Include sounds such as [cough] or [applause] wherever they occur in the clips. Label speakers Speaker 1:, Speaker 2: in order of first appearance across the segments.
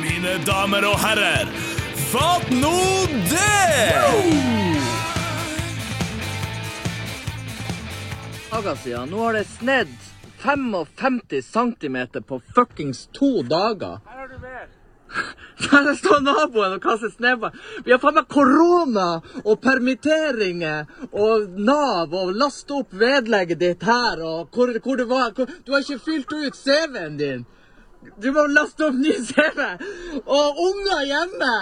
Speaker 1: mine damer og herrer. Fatt nå det!
Speaker 2: dager siden. Nå har det snedd 55 cm på fuckings to dager. Her [laughs] har du mer. Der står naboen og kaster snøball. Vi har faen meg korona og permitteringer og Nav og last opp vedlegget ditt her og hvor, hvor det var hvor, Du har ikke fylt ut CV-en din. Du må laste opp ny CV. Og unger hjemme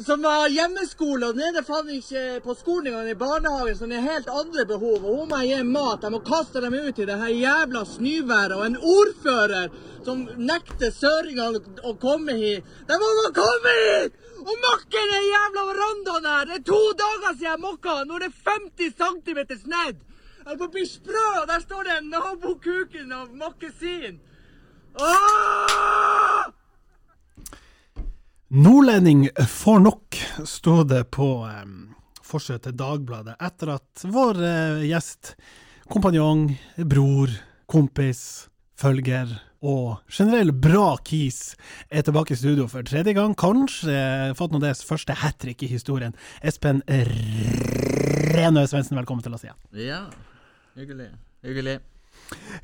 Speaker 2: som har hjemmeskole, og den ene faen ikke på skolen engang, i barnehagen, som har helt andre behov. Og hun må jeg gi mat. Jeg må kaste dem ut i det her jævla snøværet. Og en ordfører som nekter søringene å komme hit. De må få komme hit! Og mokke den jævla verandaen her! Det er to dager siden jeg mokka. Nå er det 50 cm snedd. Jeg må bli sprø, og der står det en nabokuken og mokkesin. Åh!
Speaker 3: Nordlending får nok, sto det på um, forsiden til Dagbladet etter at vår eh, gjest, kompanjong, bror, kompis, følger og generell bra kis er tilbake i studio for tredje gang, kanskje eh, fått nå deres første hat trick i historien. Espen Renø Svendsen, velkommen til oss igjen.
Speaker 2: Ja, hyggelig. Hyggelig.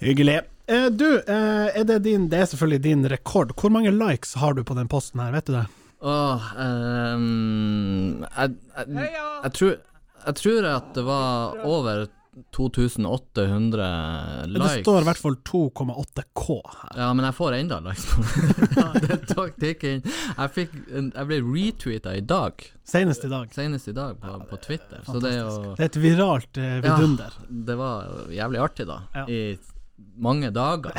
Speaker 3: Hyggelig. Eh, du, eh, er det, din, det er selvfølgelig din rekord. Hvor mange likes har du på den posten her, vet du det?
Speaker 2: Åh, ehm, jeg, jeg, jeg, tror, jeg tror at det var over 2800 likes.
Speaker 3: Det står i hvert fall 2,8K her.
Speaker 2: Ja, men jeg får enda likes på det. det tok det ikke inn. Jeg, fikk, en- jeg ble retweeta i dag,
Speaker 3: Senest i dag.
Speaker 2: senest i dag på, på Twitter. Så det er jo
Speaker 3: Det er et viralt eh, vidunder.
Speaker 2: Det var jævlig artig, da.
Speaker 3: Ja.
Speaker 2: I mange dager.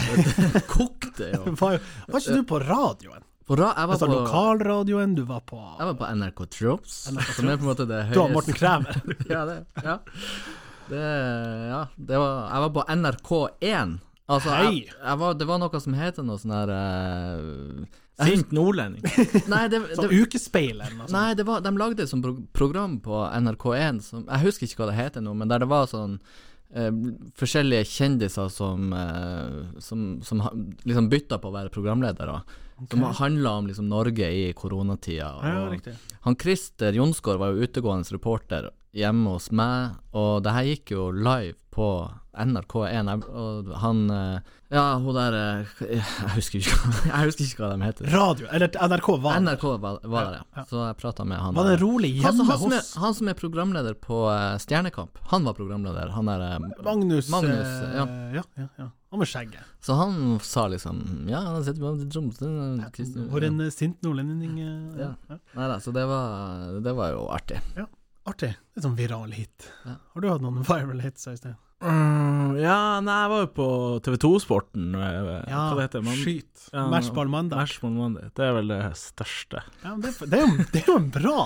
Speaker 2: Det kokte jo.
Speaker 3: Var, jo- var ikke du på radioen?
Speaker 2: På ra jeg, var
Speaker 3: Altså
Speaker 2: på,
Speaker 3: lokalradioen, du var på
Speaker 2: jeg var på NRK Tropes, som er på en måte det
Speaker 3: Du var Morten
Speaker 2: høyeste [laughs]
Speaker 3: Kræmer.
Speaker 4: [laughs]
Speaker 2: ja, det, ja. Det, ja, det var Jeg var på NRK1. Altså, jeg,
Speaker 3: Hei!
Speaker 2: jeg var, det var noe som heter noe sånn her eh, jeg
Speaker 4: Sint nordlending.
Speaker 2: hus- Nei,
Speaker 4: [laughs]
Speaker 2: det,
Speaker 3: Sånn
Speaker 2: det,
Speaker 3: ukespeilen. Altså.
Speaker 2: nei det var, de lagde et sånt pro program på NRK1 som Jeg husker ikke hva det heter nå, men der det var sånn eh, forskjellige kjendiser som, eh, som, som ha- liksom bytta på å være programledere. Som handla om liksom Norge i koronatida.
Speaker 3: Ja,
Speaker 2: og-
Speaker 3: riktig.
Speaker 2: han Christer Jonsgaard var jo utegående reporter hjemme hos meg, og det her gikk jo live på NRK1. Jeg- Og han eh, Ja, hun der eh, [laughs] Jeg husker ikke, hva- [laughs] jeg husker ikke hva de heter.
Speaker 3: Radio, eller NRK var
Speaker 2: NRK var, var der, ja. Så jeg prata med han.
Speaker 3: Var det
Speaker 2: der.
Speaker 3: rolig
Speaker 2: Han, som-
Speaker 3: hjemme
Speaker 2: han, som
Speaker 3: hos-
Speaker 2: er, han som er programleder på eh, Stjernekamp, han var programleder. Han er eh,
Speaker 3: Magnus,
Speaker 2: Magnus
Speaker 3: eh,
Speaker 2: ja.
Speaker 3: ja, ja, ja. Han med skjegget.
Speaker 2: Så han sa liksom Ja, han sitter med Tromsø eh, Christer-
Speaker 3: For en eh, sint nordlending. eh,
Speaker 2: Ja.
Speaker 3: ja.
Speaker 2: Neida, så det var, det var jo artig.
Speaker 3: Ja. Artig. Litt sånn viral hit. Har du hatt noen viral hits, Øystein?
Speaker 4: Mm, ja, nei, jeg var jo på TV2-sporten. Ja, eh, hva det heter man?
Speaker 3: skyt.
Speaker 4: Ja,
Speaker 3: Matchball mandag.
Speaker 4: Matchball Monday. Det er vel det største.
Speaker 3: Ja, men det, er- det, er jo, det er jo en bra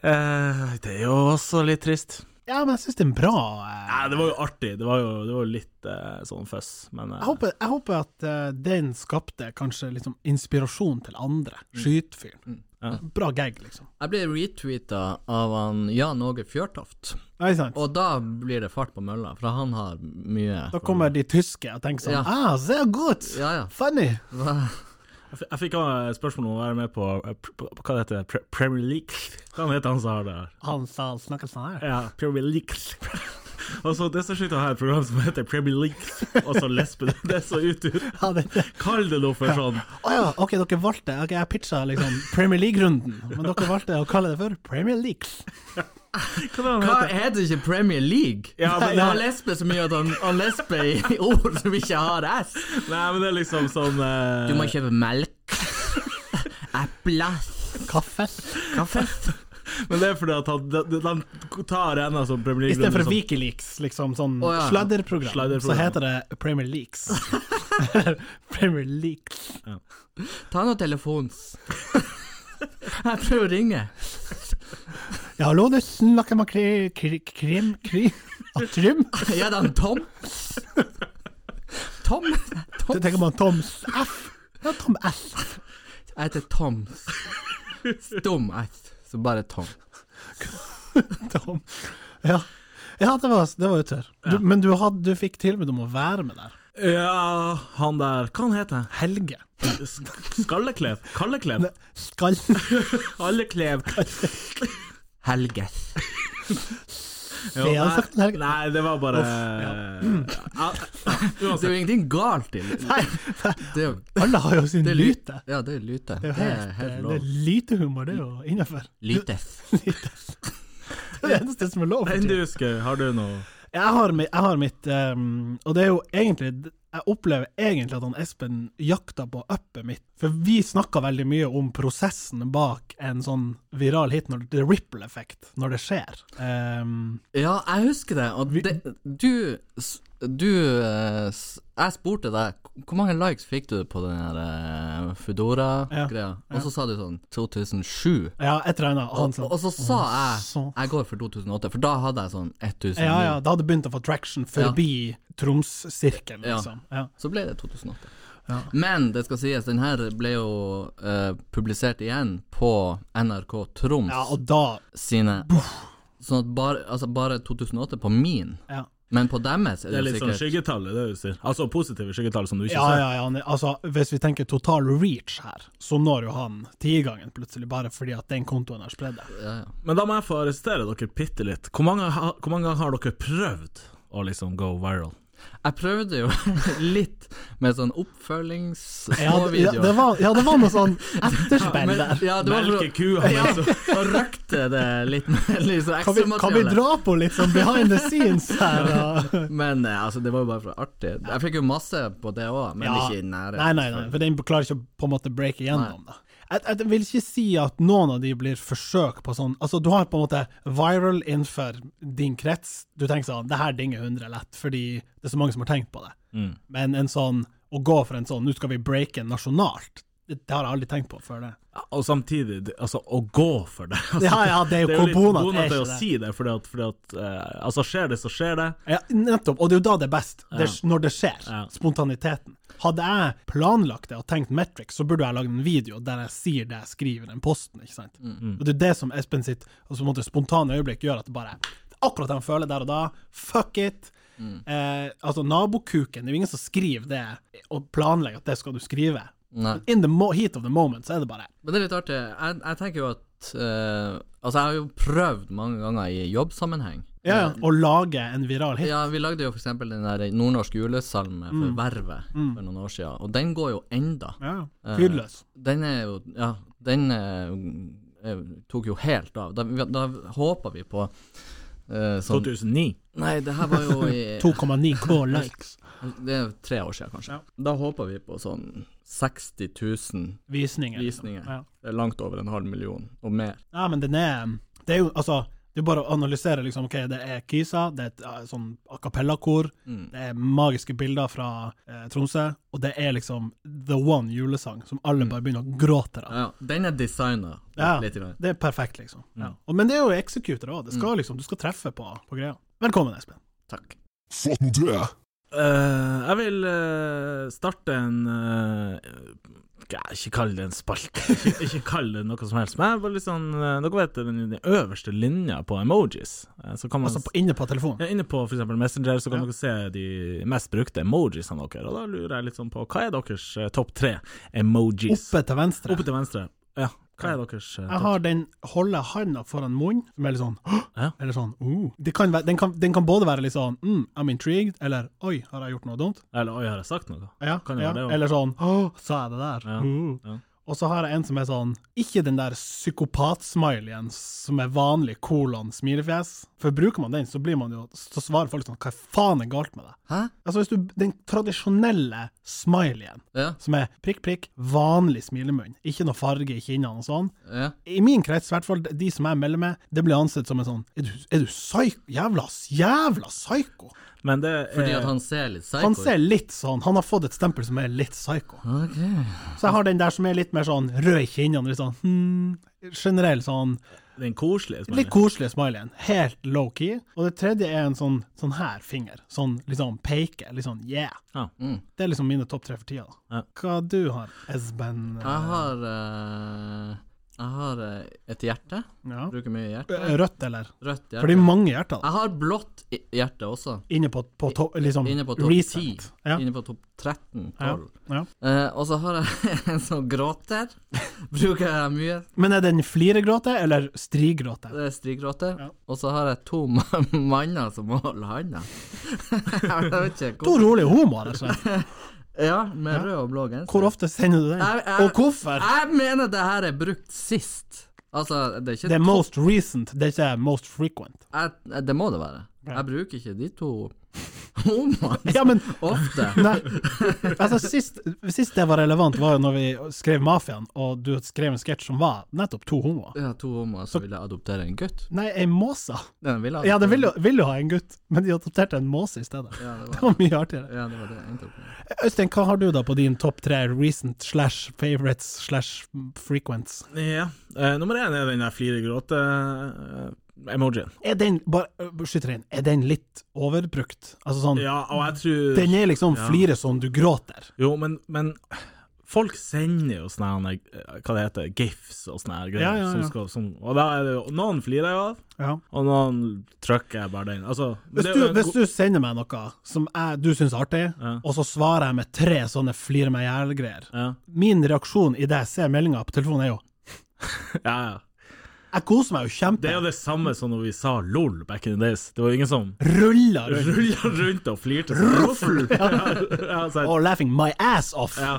Speaker 4: Eh, det er jo også litt trist.
Speaker 3: Ja, men jeg syns det er en bra eh,
Speaker 4: Nei, det var jo artig. Det var jo, det var jo litt eh, sånn føss, men eh,
Speaker 3: Jeg håper, jeg håper at eh, den skapte kanskje liksom inspirasjon til andre.
Speaker 2: Mm.
Speaker 3: Skytfyren.
Speaker 4: Ja.
Speaker 3: Bra gag, liksom.
Speaker 2: Jeg ble retweeta av han Jan Åge Fjørtoft,
Speaker 3: Nei, sant?
Speaker 2: og da blir det fart på mølla, for han har mye
Speaker 3: da kommer de tyske og tenker sånn
Speaker 2: Ja.
Speaker 3: Ah, sehr gut!
Speaker 2: Ja, ja.
Speaker 3: Funny!
Speaker 4: jeg, f jeg fikk eh, spørsmål om å være med på, eh, pr- på, på Hva det heter Pre Premier League? Hva heter han som har det her?
Speaker 3: Han sa han snakket sånn her.
Speaker 4: Ja, Premier League. [laughs] Og så det er så sjukt å ha et program som heter Premier League, og så lesbe. Det er så ut
Speaker 3: Ja, det, det.
Speaker 4: Kall det noe for sånn.
Speaker 3: Å ja, ok, dere valgte Ok, Jeg pitcha liksom Premier League-runden, men dere valgte å kalle det for Premier Leagues.
Speaker 4: Hva er det
Speaker 2: Hva
Speaker 4: han heter?
Speaker 2: er det ikke Premier League?
Speaker 4: Ja, men det-
Speaker 2: Han lesber så mye at han, han lesber i [laughs] ord som ikke har S.
Speaker 4: Nei, men det er liksom sånn eh,
Speaker 2: Du må kjøpe melk. [laughs] Epler.
Speaker 3: Kaffe.
Speaker 2: Kaffe.
Speaker 4: Men det er fordi at han, de, de, de tar en av sånn Premier League
Speaker 3: Istedenfor Wikileaks, liksom sånn
Speaker 2: Å, ja.
Speaker 3: sladderprogram,
Speaker 4: Sladderprogram.
Speaker 3: så heter det Premier Leaks. [laughs] Premier Leaks.
Speaker 2: Ta nå telefonen. Jeg prøver å ringe.
Speaker 3: Ja, hallo, du snakker med kri... kri... krim... krim... Trym?
Speaker 2: Ja, det er han Tom. Tom.
Speaker 3: Så
Speaker 2: Tom.
Speaker 3: tenker man Toms F. Ja, Tom S.
Speaker 2: Jeg heter Tom. Stum S. Så bare Tom.
Speaker 3: Tom. Ja, ja det, var, det var jo tørr. Du- Men du, hadde, du fikk tilbud om å være med der.
Speaker 5: Ja, han der Hva han heter han?
Speaker 3: Helge.
Speaker 5: Skalleklev? Kalleklev?
Speaker 3: Skal...
Speaker 5: Alleklev? Helge.
Speaker 3: Det har jeg sagt en helg.
Speaker 5: Nei, det var bare Mm. ja.
Speaker 2: Det er
Speaker 5: Uansett.
Speaker 2: jo ingenting galt i det. Det er jo
Speaker 3: Alle har jo sin
Speaker 2: det er lyte.
Speaker 3: lyte.
Speaker 2: Ja, det er lyte.
Speaker 3: Det er jo helt,
Speaker 2: helt
Speaker 3: det
Speaker 2: lov.
Speaker 3: er lytehumor, det er jo innafor.
Speaker 2: Lytes.
Speaker 3: [laughs] Det er det eneste som er lov.
Speaker 5: Enn du husker, har du noe
Speaker 3: Jeg har, mi- jeg har mitt ehm, Og det er jo egentlig Jeg opplever egentlig at han Espen jakta på uppet mitt. For vi snakka veldig mye om prosessen bak en sånn viral hit, når the ripple effect, når det skjer. Ehm,
Speaker 2: Ja, jeg husker det. Og det, du s- Du eh, s- Jeg spurte deg k- hvor mange likes fikk du på den her eh, Foodora-greia, og så sa du sånn 2007.
Speaker 3: ja, jeg trener han
Speaker 2: Og,
Speaker 3: sånn
Speaker 2: og så sa jeg
Speaker 3: så-
Speaker 2: jeg går for 2008, for da hadde jeg sånn 1000.
Speaker 3: Ja, ja, det hadde begynt å få traction forbi Troms-sirkelen,
Speaker 2: Ja.
Speaker 3: liksom. Ja.
Speaker 2: Så ble det 2008. Men det skal sies, den her ble jo eh, publisert igjen på NRK Troms
Speaker 3: ja, og da
Speaker 2: sine Sånn at bare, altså bare 2008 på min,
Speaker 3: ja.
Speaker 2: men på deres er
Speaker 5: Det
Speaker 2: det,
Speaker 5: er litt sånn
Speaker 2: sikkert
Speaker 5: skyggetall, det er det du sier. Altså positive skyggetall som du ikke
Speaker 3: Ja,
Speaker 5: ser.
Speaker 3: ja, ja. han er- Altså, hvis vi tenker total reach her, så når jo han tigangen plutselig, bare fordi at den kontoen har spredd det.
Speaker 2: ja, ja.
Speaker 5: Men da må jeg få arrestere dere bitte litt. Hvor mange, ha- hvor mange ganger har dere prøvd å liksom gå viral?
Speaker 2: Jeg prøvde jo [laughs] litt med sånn
Speaker 3: Ja, det- ja,
Speaker 2: oppfølgings-videoer.
Speaker 3: det var, ja, det var noe sånn etterspill
Speaker 2: Men-
Speaker 3: der.
Speaker 2: Ja, det var
Speaker 5: Melke
Speaker 2: for
Speaker 5: kua, liksom.
Speaker 2: å røkte det litt med litt sånn
Speaker 3: Kan vi, kan vi
Speaker 2: ekstramateriale.
Speaker 3: dra på litt sånn behind the scenes her? Og,
Speaker 2: Men eh, altså, det var jo bare for artig. Jeg fikk jo masse på det òg, men
Speaker 3: ja.
Speaker 2: ikke i nærheten.
Speaker 3: Nei, nei, nei, for den klarer ikke å på en måte breake igjennom. Da. Jeg, jeg vil ikke si at noen av de blir forsøk på sånn Altså, du har på en måte viral innenfor din krets. Du tenker sånn, det her dinger 100 lett, fordi det er så mange som har tenkt på det. Men en sånn, å gå for en sånn, nå skal vi breake nasjonalt, det, det har jeg aldri tenkt på før det.
Speaker 5: Og samtidig, det- altså, å gå for det. Altså,
Speaker 3: Ja, ja, det er jo
Speaker 5: litt
Speaker 3: kobona til
Speaker 5: bona
Speaker 3: ikke
Speaker 5: til å
Speaker 3: det.
Speaker 5: si det, fordi at, fordi at eh, Altså, skjer det, så skjer det.
Speaker 3: Ja, nettopp, og det er jo da det er best, det, når det skjer.
Speaker 5: Ja.
Speaker 3: Spontaniteten. Hadde jeg planlagt det og tenkt metrics, så burde jeg lagd en video der jeg sier det jeg skriver i den posten, ikke sant?
Speaker 2: Mm,
Speaker 3: Og det er det som Espen sitt altså, på en måte, spontane øyeblikk gjør at det bare Akkurat det han føler der og da. Fuck it!
Speaker 2: Mm.
Speaker 3: Eh, altså, nabokuken, det er jo ingen som skriver det og planlegger at det skal du skrive.
Speaker 2: Nei.
Speaker 3: In the mo heat of the moment, så er det bare
Speaker 2: Men det er litt artig. Jeg, jeg tenker jo at eh, Altså, jeg har jo prøvd mange ganger i jobbsammenheng.
Speaker 3: ja, ja, å lage en viral hit.
Speaker 2: Ja, vi lagde jo for eksempel den der nordnorsk julesalme for
Speaker 3: Mm.
Speaker 2: Vervet for noen år siden, og den går jo enda.
Speaker 3: Ja. Fyrløs.
Speaker 2: Den er jo Ja, den eh, eh, tok jo helt av. Da, da håpa vi på eh, sånn
Speaker 5: 2009.
Speaker 2: Nei, det her var
Speaker 3: [laughs]
Speaker 2: jo i
Speaker 3: 2,9K likes.
Speaker 2: Det er tre år siden, kanskje. Da håpa vi på sånn 60 000
Speaker 3: Visninger. liksom.
Speaker 2: visninger.
Speaker 3: Ja.
Speaker 2: Det er langt over en halv million, og mer.
Speaker 3: Ja, men den er Det er jo altså det er bare å analysere, liksom. OK, det er Kisa, det er et eh, sånn a cappella-kor, det er magiske bilder fra eh, Tromsø, og det er liksom the one julesang som alle bare begynner å gråte av.
Speaker 2: Ja, den er designa
Speaker 3: Ja,
Speaker 2: litt. Grann.
Speaker 3: det er perfekt, liksom. Ja. Og, men det er jo executor òg. Det skal liksom Du skal treffe på, på greia. Velkommen, Espen.
Speaker 2: Takk.
Speaker 4: Fått nå det.
Speaker 5: Eh, jeg vil eh, starte en eh, ja, Ikke kall det en spalte, [laughs] ikke, ikke kall det noe som helst. Men jeg var litt sånn, eh, dere vet den, den øverste linja på emojis. Eh, så kan man
Speaker 3: Altså på, inne på telefonen.
Speaker 5: ja, inne på f.eks. Messenger så kan dere se de mest brukte emojiesene deres. Og da lurer jeg litt sånn på hva er deres eh, topp tre emojis?
Speaker 3: Oppe til venstre.
Speaker 5: Oppe til venstre. Ja, hva er deres eh,
Speaker 3: Jeg
Speaker 5: topp
Speaker 3: har den holde handa foran munnen, som er litt sånn
Speaker 5: Ja.
Speaker 3: Eller sånn uh. det kan være, den, kan, den kan både være litt sånn mm, I'm intrigued, eller oi, har jeg gjort noe dumt?
Speaker 5: Eller oi, har jeg sagt noe?
Speaker 3: Ja,
Speaker 5: Kan jo
Speaker 3: ja.
Speaker 5: være det også.
Speaker 3: eller sånn Åh, sa jeg det der? Uh.
Speaker 5: ja.
Speaker 3: Og så har jeg en som er sånn Ikke den der psykopat-smileyen som er vanlig kolon smilefjes. For bruker man den, så blir man jo Så svarer folk sånn Hva faen er galt med deg?
Speaker 2: Hæ?
Speaker 3: Altså hvis du Den tradisjonelle smileyen,
Speaker 2: Ja,
Speaker 3: som er prikk, prikk, vanlig smilemunn, ikke noe farge i kinnene og sånn.
Speaker 2: ja.
Speaker 3: I min krets, i hvert fall de som jeg melder med, det blir ansett som en sånn Er du, er du psyko? Jævla, jævla psyko!
Speaker 5: Men det er
Speaker 2: Fordi at han ser litt psycho
Speaker 3: Han
Speaker 2: ut.
Speaker 3: ser litt sånn Han har fått et stempel som er litt psyko.
Speaker 2: Ok.
Speaker 3: Så jeg har den der som er litt mer sånn rød i kinnene, litt sånn hmm, generell sånn
Speaker 5: den koselige. som er
Speaker 3: Litt koselig smileyen. Helt low-key. Og det tredje er en sånn, sånn her finger. Sånn litt sånn peke. Litt sånn yeah.
Speaker 5: Ja.
Speaker 2: mm.
Speaker 3: Det er liksom mine topp tre for tida, da.
Speaker 5: Ja.
Speaker 3: Hva du har, Esben?
Speaker 2: Jeg har eh, Jeg har eh, et hjerte.
Speaker 3: Ja.
Speaker 2: Bruker mye hjerte.
Speaker 3: Rødt, eller?
Speaker 2: Rødt hjerte.
Speaker 3: For det er mange hjerter da.
Speaker 2: Jeg har blått i- hjerte også.
Speaker 3: inne på, på to, liksom,
Speaker 2: Inne på topp
Speaker 3: reset.
Speaker 2: 10.
Speaker 3: Ja.
Speaker 2: Inne på topp 13. 12.
Speaker 3: Ja. Ja.
Speaker 2: Eh, og så har jeg [laughs] en som
Speaker 3: [laughs]
Speaker 2: gråter. Bruker jeg mye.
Speaker 3: Men er den fliregråte eller strigråte?
Speaker 2: Det er strigråter.
Speaker 3: Ja.
Speaker 2: Og så har jeg to ma- [laughs] manner som holder handa. [laughs] jeg vet ikke
Speaker 3: To
Speaker 2: hvor.
Speaker 3: rolige homoer, rett og slett.
Speaker 2: Ja, med rød og blå genser.
Speaker 3: Hvor ofte sender du den?
Speaker 2: Jeg- jeg-
Speaker 3: Og hvorfor?
Speaker 2: Jeg mener det her er brukt sist. Altså, det er ikke
Speaker 3: Det er most recent, det er ikke most frequent.
Speaker 2: jeg, jeg- Det må det være.
Speaker 3: Ja.
Speaker 2: Jeg bruker ikke de to homoene
Speaker 3: [laughs] [laughs] Ja, men
Speaker 2: ofte.
Speaker 3: Nei. Altså, sist, sist det var relevant, var jo når vi skrev Mafiaen, og du skrev en sketsj som var nettopp to homoer.
Speaker 2: Ja, to homoer som ville adoptere en gutt.
Speaker 3: Nei, ei måse.
Speaker 2: Den ville
Speaker 3: Ja, det ville, jo- ville jo ha en gutt, men de adopterte en måse i stedet.
Speaker 2: Ja,
Speaker 3: [laughs]
Speaker 2: det
Speaker 3: Det
Speaker 2: var
Speaker 3: var mye artigere.
Speaker 2: ja, det. Var det jeg endte opp med.
Speaker 3: Øystein, hva har du da på din topp tre recent slash favourites slash frequents?
Speaker 5: Ja. Eh, nummer én er den der eh, flire gråte-emojien.
Speaker 3: Er den bare øh, Skyter inn. Er den litt overbrukt? Altså sånn
Speaker 5: Ja, og jeg tror
Speaker 3: Den er liksom
Speaker 5: Ja.
Speaker 3: flire som du gråter.
Speaker 5: Jo, men, men folk sender jo sånne her, eh, hva det heter, gifs og sånne her greier.
Speaker 3: Ja, ja, ja.
Speaker 5: Som skal, som, og da er det jo Noen flirer jeg av,
Speaker 3: Ja.
Speaker 5: og noen trykker jeg bare den. Altså men
Speaker 3: Hvis
Speaker 5: det er
Speaker 3: du,
Speaker 5: jo en
Speaker 3: hvis
Speaker 5: god-
Speaker 3: du sender meg noe som jeg, du syns er artig,
Speaker 5: Ja.
Speaker 3: og så svarer jeg med tre sånne flir meg i hjel-greier
Speaker 5: ja.
Speaker 3: Min reaksjon idet jeg ser meldinga på telefonen, er jo
Speaker 5: ja, ja.
Speaker 3: Jeg koser meg jo
Speaker 5: Det
Speaker 3: kjempe.
Speaker 5: er jo det samme som når vi sa LOL back in the days. Det var jo ingen som
Speaker 3: Ruller rundt
Speaker 5: rulla rundt og flirte. Ruffel! [laughs] ja, ja, så-
Speaker 3: og laughing my ass off.
Speaker 5: ja.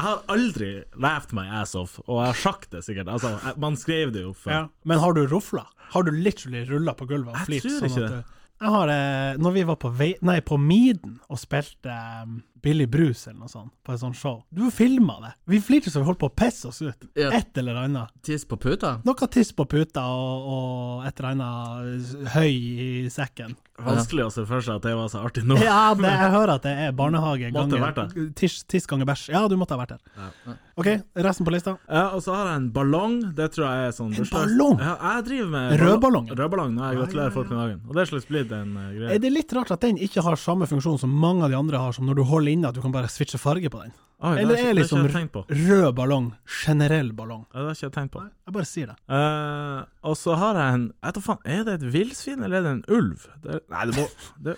Speaker 5: Jeg har aldri laughed my ass off, og jeg har sagt det sikkert. Altså, jeg- man skrev det jo før.
Speaker 3: Ja. Men har du rufla? Har du literally rulla på gulvet og
Speaker 5: Jeg
Speaker 3: flirt? sånn
Speaker 5: tror ikke det.
Speaker 3: du, jeg har eh, Når vi var på vei, nei, på Miden og spilte eh, Billy Bruce eller noe sånt, på et sånt show Du filma det. Vi flirte så vi holdt på å pisse oss ut.
Speaker 2: Ja.
Speaker 3: Et eller annet.
Speaker 2: Tiss på puta?
Speaker 3: Noe tiss på puta og, og et eller annet høy i sekken.
Speaker 5: Vanskelig å se for seg at det var så artig nå.
Speaker 3: Ja, det, jeg hører at det er barnehage
Speaker 5: Måtte
Speaker 3: ganger
Speaker 5: vært
Speaker 3: tiss, tiss ganger bæsj. Ja, du måtte ha vært der. OK, resten på lista.
Speaker 5: Ja, og så har jeg en ballong. Det tror jeg er sånn bursdags-
Speaker 3: ballong?
Speaker 5: Ja, jeg driver med ball-
Speaker 3: Rødballongen?
Speaker 5: Rødballong når jeg gratulerer folk med dagen. Og det er slags blitt en eh, greie.
Speaker 3: Er det litt rart at den ikke har samme funksjon som mange av de andre har, som når du holder inne, at du kan bare switche farge på den?
Speaker 5: Oi, det har
Speaker 3: Eller er
Speaker 5: jeg ikke- det har
Speaker 3: liksom
Speaker 5: ikke jeg tenkt på.
Speaker 3: rød ballong generell ballong?
Speaker 5: Ja, Det har ikke jeg tenkt på.
Speaker 3: Jeg bare sier det.
Speaker 5: Eh, og så har jeg en Jeg vet da faen, er det et villsvin eller er det en ulv? Det er, nei, det må
Speaker 3: [laughs]
Speaker 5: det,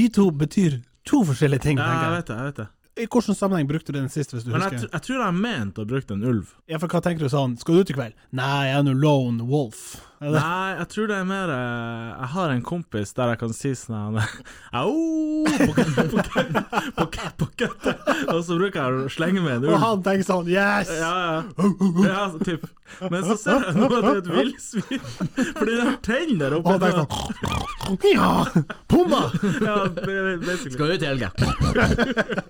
Speaker 3: De to betyr to forskjellige ting,
Speaker 5: ja, Jeg
Speaker 3: tenker jeg.
Speaker 5: vet det, jeg vet det.
Speaker 3: I hvilken sammenheng brukte du den sist, hvis du
Speaker 5: Men jeg,
Speaker 3: husker?
Speaker 5: tr- jeg tror jeg har ment å bruke en
Speaker 3: [laughs]
Speaker 5: ulv.
Speaker 3: Ja, for hva tenker du sånn, skal du ut i kveld? Nei, jeg er nå lone wolf. Er det?
Speaker 5: Nei, jeg tror det er mer eh, Jeg har en kompis der jeg kan si sånn her, [laughs] Au! På kø- på kø- [laughs] på kø- på kødden. Og så bruker jeg å slenge med en
Speaker 3: Og
Speaker 5: ulv.
Speaker 3: han tenker sånn, yes!
Speaker 5: Ja, ja. ja så typ. Men så ser jeg nå at det er et villsvin, fordi det har tenn der
Speaker 3: Og
Speaker 5: oppe.
Speaker 3: han tenker sånn, ja, pumma!
Speaker 5: Ja, basically.
Speaker 2: Skal ut i helga?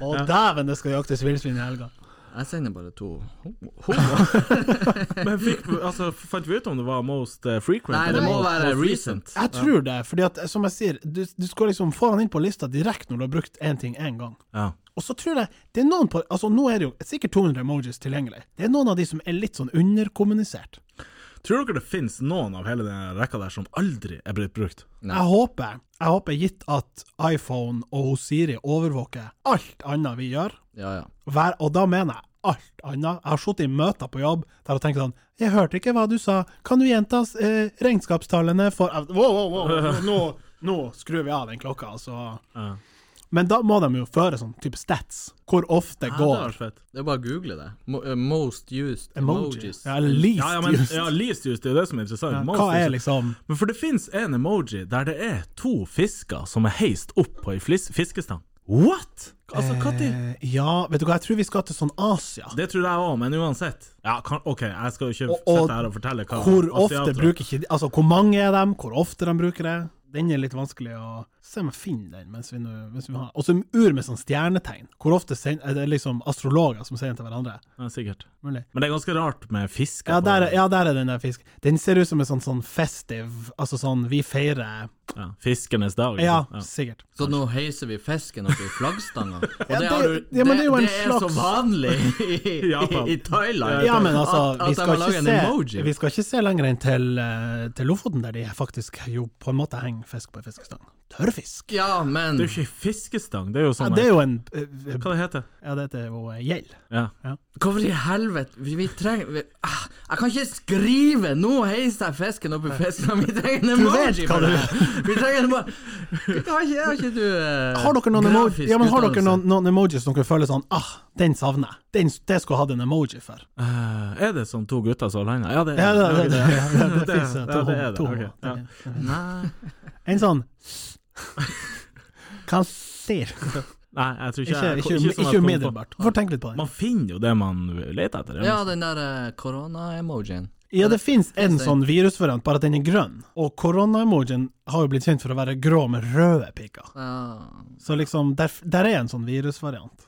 Speaker 3: Og dæven, det skal jaktes villsvin i helga.
Speaker 2: Jeg sender bare to homo.
Speaker 5: Men fikk, altså, fant vi ut om det var most eh, frequent?
Speaker 2: Nei, det
Speaker 5: eller
Speaker 2: må
Speaker 5: most-
Speaker 2: være
Speaker 5: most
Speaker 2: recent.
Speaker 3: Jeg tror det, fordi at, som jeg sier, du, du skal liksom få han inn på lista direkte når du har brukt én ting én gang.
Speaker 5: Ja.
Speaker 3: Og så tror jeg det er noen på Altså, nå er det jo sikkert 200 emojis tilgjengelig. Det er noen av de som er litt sånn underkommunisert.
Speaker 5: Tror dere det finnes noen av hele den rekka der som aldri er blitt brukt?
Speaker 2: Nei.
Speaker 3: Jeg håper, jeg håper gitt at iPhone og Siri overvåker alt annet vi gjør,
Speaker 2: Ja, ja.
Speaker 3: hver, og da mener jeg alt annet. Jeg har sittet i møter på jobb der jeg tenker sånn Jeg hørte ikke hva du sa, kan du gjenta eh, regnskapstallene for Wow, wow, wow,
Speaker 5: [laughs]
Speaker 3: nå- nå, nå skrur vi av den klokka, altså.
Speaker 5: Ja.
Speaker 3: Men da må de jo føre sånn type stats. Hvor ofte
Speaker 5: Ja, det hadde
Speaker 3: går
Speaker 5: vært fett.
Speaker 2: Det er bare å google det. Mo eh, most used
Speaker 3: emoji?
Speaker 2: emojis.
Speaker 3: Ja, eller least
Speaker 5: Ja, ja, men
Speaker 3: used.
Speaker 5: ja, least used, det er jo det som er interessant.
Speaker 3: Ja,
Speaker 5: Most
Speaker 3: Hva er
Speaker 5: used.
Speaker 3: liksom
Speaker 5: Men for det finnes en emoji der det er to fisker som er heist opp på ei flis- fiskestang. What?! Altså, hva til?
Speaker 3: eh, Ja, vet du hva, jeg tror vi skal til sånn Asia.
Speaker 5: Det tror jeg òg, men uansett. Ja, kan, OK, jeg skal jo ikke
Speaker 3: Og- og
Speaker 5: sitte her og fortelle hva
Speaker 3: Hvor ofte
Speaker 5: asiater-
Speaker 3: bruker ikke de Altså, hvor mange er dem, hvor ofte de bruker det? Den er litt vanskelig å Se om jeg finner den mens vi, nå- mens vi har Og så en ur med sånn stjernetegn. Hvor ofte send, er det liksom astrologer som sier den til hverandre?
Speaker 5: Ja, sikkert.
Speaker 3: Mulig.
Speaker 5: Men det er ganske rart med fisker.
Speaker 3: Ja
Speaker 5: på-
Speaker 3: der, er- ja, der er den der fisk. Den ser ut som en sånn, sånn festive Altså sånn, vi feirer
Speaker 5: Ja, fiskenes dag. liksom.
Speaker 3: Ja,
Speaker 5: Ja.
Speaker 3: sikkert.
Speaker 2: Så nå heiser vi fisken opp i
Speaker 3: [laughs]
Speaker 2: flaggstanga. Og det,
Speaker 3: det-
Speaker 2: har du,
Speaker 3: ja, men det er jo en
Speaker 2: så
Speaker 3: slags-
Speaker 2: vanlig i,
Speaker 3: [laughs]
Speaker 2: i,
Speaker 5: Japan.
Speaker 2: i Thailand
Speaker 3: Ja, men altså,
Speaker 2: at, at
Speaker 3: vi
Speaker 2: de
Speaker 3: skal,
Speaker 2: har
Speaker 3: ikke
Speaker 2: laget en
Speaker 3: se,
Speaker 2: emoji.
Speaker 3: vi skal ikke se lenger enn til, eh, til Lofoten, der de faktisk jo på en måte henger fisk på ei fiskestang. tørrfisk.
Speaker 2: Ja, men
Speaker 5: Det er jo ikke fiskestang, det er jo
Speaker 3: Ja,
Speaker 5: sånn
Speaker 3: det er
Speaker 5: her-
Speaker 3: jo en eh, eh,
Speaker 5: Hva det heter
Speaker 3: Ja, det heter jo eh, gjeld.
Speaker 5: Ja.
Speaker 2: Hvorfor i helvete? Vi, vi trenger vi, ah, Jeg kan ikke skrive! Nå heiser jeg fisken opp i fisken! Vi trenger en
Speaker 3: Du vet
Speaker 2: emoji!
Speaker 3: hva
Speaker 2: for
Speaker 3: du-
Speaker 2: det her. Vi trenger en emoji! Har ikke, har ikke du eh,
Speaker 3: Har dere noen, emoji,
Speaker 2: grafisk
Speaker 3: ja, men har dere
Speaker 2: utdannelse?
Speaker 3: noen, noen emojis som dere føler sånn Ah, den savner jeg. Den, det skulle jeg hatt en emoji for.
Speaker 5: Eh, er det sånn to gutter som holder handa? Ja, det er
Speaker 3: Ja, det, det, det,
Speaker 5: Ok.
Speaker 3: det, det,
Speaker 5: [laughs] Det-
Speaker 3: finnes, eh, to
Speaker 5: ja, det er det.
Speaker 3: to-
Speaker 5: Ok, ja.
Speaker 2: Nei.
Speaker 3: En sånn
Speaker 5: [laughs]
Speaker 3: Hva skjer?
Speaker 5: Nei, jeg tror
Speaker 3: Ikke,
Speaker 5: ikke jeg-
Speaker 3: ikke,
Speaker 5: sånn
Speaker 3: ikke,
Speaker 5: jeg kom på.
Speaker 3: umiddelbart. Få tenke litt på det.
Speaker 5: Man finner jo det man leter etter.
Speaker 2: Ja, den der eh, korona-emojien.
Speaker 3: Ja, det finnes en
Speaker 2: det-
Speaker 3: sånn virusvariant, bare at den er grønn. Og korona-emojien har jo blitt kjent for å være grå med røde piker.
Speaker 2: Ja.
Speaker 3: Så liksom, der, der er en sånn virusvariant.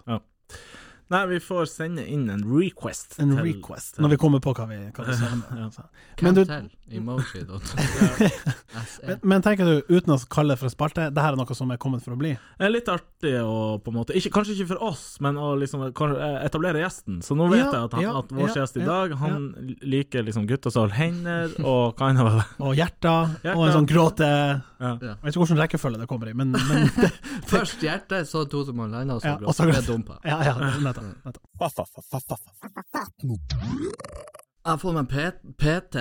Speaker 5: Nei, vi får sende inn en request.
Speaker 3: En
Speaker 5: til-
Speaker 3: request, når vi kommer på hva vi, hva
Speaker 5: [laughs]
Speaker 3: vi
Speaker 5: Ja.
Speaker 3: savner. Så. Men
Speaker 2: Men
Speaker 3: du-
Speaker 2: du Emoji. dot.
Speaker 3: [laughs]
Speaker 2: E SE.
Speaker 3: Men, men tenker du, uten å kalle det for en spalte, det her er noe som er kommet for å bli?
Speaker 5: Det er litt artig å på en måte ikke, Kanskje ikke for oss, men å liksom kan- etablere gjesten. Så nå vet
Speaker 3: Ja,
Speaker 5: jeg at, han,
Speaker 3: ja,
Speaker 5: at vår
Speaker 3: ja,
Speaker 5: gjest i
Speaker 3: ja,
Speaker 5: dag, han liker liksom gutter som holder hender, og kind of
Speaker 3: Og hjerter, og en
Speaker 5: Hjerter.
Speaker 3: sånn gråte Jeg
Speaker 5: [laughs] ja.
Speaker 3: vet ikke hvilken rekkefølge det kommer i, men, men
Speaker 2: [laughs] Først hjertet, så to som har landa, og så
Speaker 3: ja,
Speaker 2: gråt.
Speaker 3: og så
Speaker 2: Det
Speaker 3: gråte.
Speaker 2: er dumpa.
Speaker 3: Ja, ja, nettopp. nettopp.
Speaker 2: Jeg har fått meg P- PT.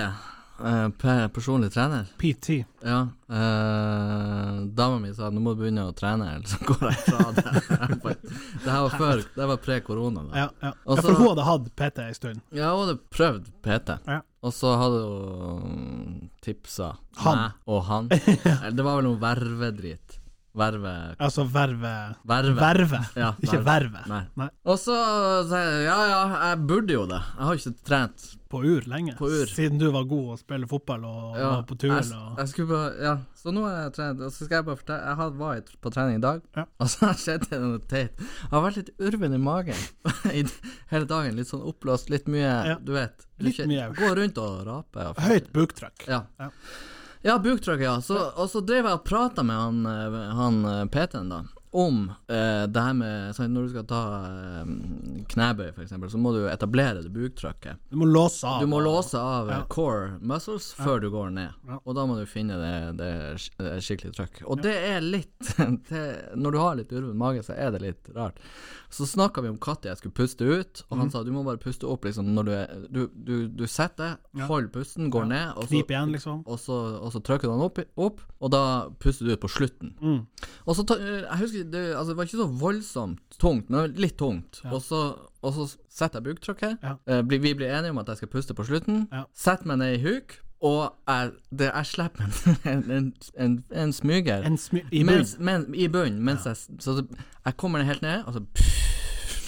Speaker 2: eh, per- personlig trener.
Speaker 3: PT.
Speaker 2: Ja. eh, Dama mi sa nå må du begynne å trene, eller så går jeg fra det. [laughs] det her var før, det var pre-korona. da
Speaker 3: Ja, ja.
Speaker 2: Og
Speaker 3: ja,
Speaker 2: så-
Speaker 3: for hun hadde hatt PT en stund.
Speaker 2: Ja, hun hadde prøvd PT,
Speaker 3: Ja.
Speaker 2: og så hadde hun tipsa
Speaker 3: Han.
Speaker 2: meg og
Speaker 3: [laughs]
Speaker 2: han. Eller Det var vel noe vervedrit. Verve...
Speaker 3: Altså verve
Speaker 2: Verve.
Speaker 3: Verve,
Speaker 2: Ja,
Speaker 3: ikke verve.
Speaker 2: Nei.
Speaker 3: Nei.
Speaker 2: Og så sa jeg ja, ja, jeg burde jo det. Jeg har ikke trent
Speaker 3: På ur lenge.
Speaker 2: På ur.
Speaker 3: Siden du var god å spille fotball og
Speaker 2: ja,
Speaker 3: var på tur.
Speaker 2: jeg,
Speaker 3: og...
Speaker 2: jeg skulle bare Ja, så nå har jeg trent, og så skal jeg bare fortelle Jeg had- var i- på trening i dag,
Speaker 3: Ja.
Speaker 2: og så [laughs] har skjedd det noe teit. Jeg har vært litt urven i magen [laughs] i, d- hele dagen. Litt sånn oppblåst, litt mye,
Speaker 3: Ja.
Speaker 2: du vet. Du
Speaker 3: Litt
Speaker 2: kjen-
Speaker 3: mye.
Speaker 2: Gå rundt og rape. Og
Speaker 3: Høyt buktrykk.
Speaker 2: Ja.
Speaker 3: Ja.
Speaker 2: Ja, buktrykket, ja. Så, og så drev jeg og prata med han, eh, han eh, PT-en, da. Om eh, det her med sant, Når du skal ta eh, knebøy, for eksempel så må du jo etablere det buktrykket.
Speaker 3: Du må låse av.
Speaker 2: Du må låse av eh,
Speaker 3: Ja.
Speaker 2: core muscles før du går ned,
Speaker 3: Ja.
Speaker 2: og da må du finne det, det sk- det skikkelige trykk. Og det er litt [laughs] det, Når du har litt urven mage, så er det litt rart. Så snakka vi om katter jeg skulle puste ut, og han
Speaker 3: Mhm.
Speaker 2: sa du må bare puste opp liksom når du er Du, du, du setter deg,
Speaker 3: Ja.
Speaker 2: hold pusten, går ned, og så
Speaker 3: Knip igjen, liksom.
Speaker 2: og så, og så trykker du den opp, opp, og da puster du ut på slutten.
Speaker 3: Mm.
Speaker 2: Og så ta, Jeg husker det, altså, det var ikke så voldsomt tungt, men litt tungt. Og, så, og så setter jeg buktrykket.
Speaker 3: Ja.
Speaker 2: Eh, bli- vi blir enige om at jeg skal puste på slutten.
Speaker 3: Ja.
Speaker 2: Setter meg ned i huk, og jeg, det, jeg slipper en, [laughs] en, en, en, en smyger
Speaker 3: En smy... I
Speaker 2: mens,
Speaker 3: bunnen.
Speaker 2: men, i bunnen. Mens jeg, s- så det, jeg kommer ned helt ned, og så [laughs]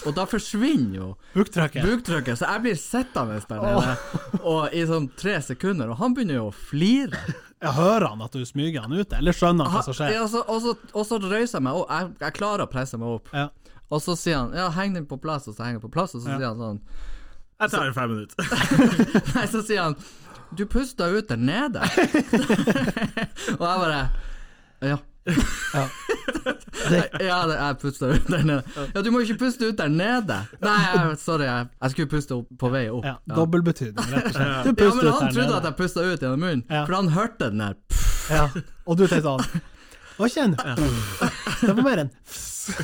Speaker 2: Og da forsvinner jo
Speaker 3: Buktrykket.
Speaker 2: buktrykket, så jeg blir sittende der nede og i sånn tre sekunder, og han begynner jo å flire.
Speaker 3: Jeg hører han at du smyger han ut, eller skjønner han hva som skjer?
Speaker 2: Ja, så, og, så, og så røyser jeg meg opp, jeg, jeg klarer å presse meg opp,
Speaker 3: Ja.
Speaker 2: og så sier han ja, heng den på plass, og så henger jeg på plass, og så
Speaker 3: Ja.
Speaker 2: sier han sånn [laughs]
Speaker 5: Jeg tar fem minutter.
Speaker 2: Nei, så sier han du pusta ut der
Speaker 3: [laughs]
Speaker 2: nede. [laughs] og jeg bare ja.
Speaker 3: Det,
Speaker 2: [laughs] Ja, det, jeg pusta ut der nede. Ja, du må jo ikke puste ut der nede! Nei, jeg, sorry, jeg, jeg skulle puste opp, på vei opp.
Speaker 3: ja, Dobbeltbetydning, rett og slett. Du
Speaker 2: Ja, men
Speaker 3: puster ut
Speaker 2: han
Speaker 3: der
Speaker 2: trodde at
Speaker 3: nede.
Speaker 2: jeg pusta ut gjennom munnen,
Speaker 3: Ja.
Speaker 2: for han hørte den der.
Speaker 3: Ja. Og du tenkte sånn Å, kjenn. Det var mer enn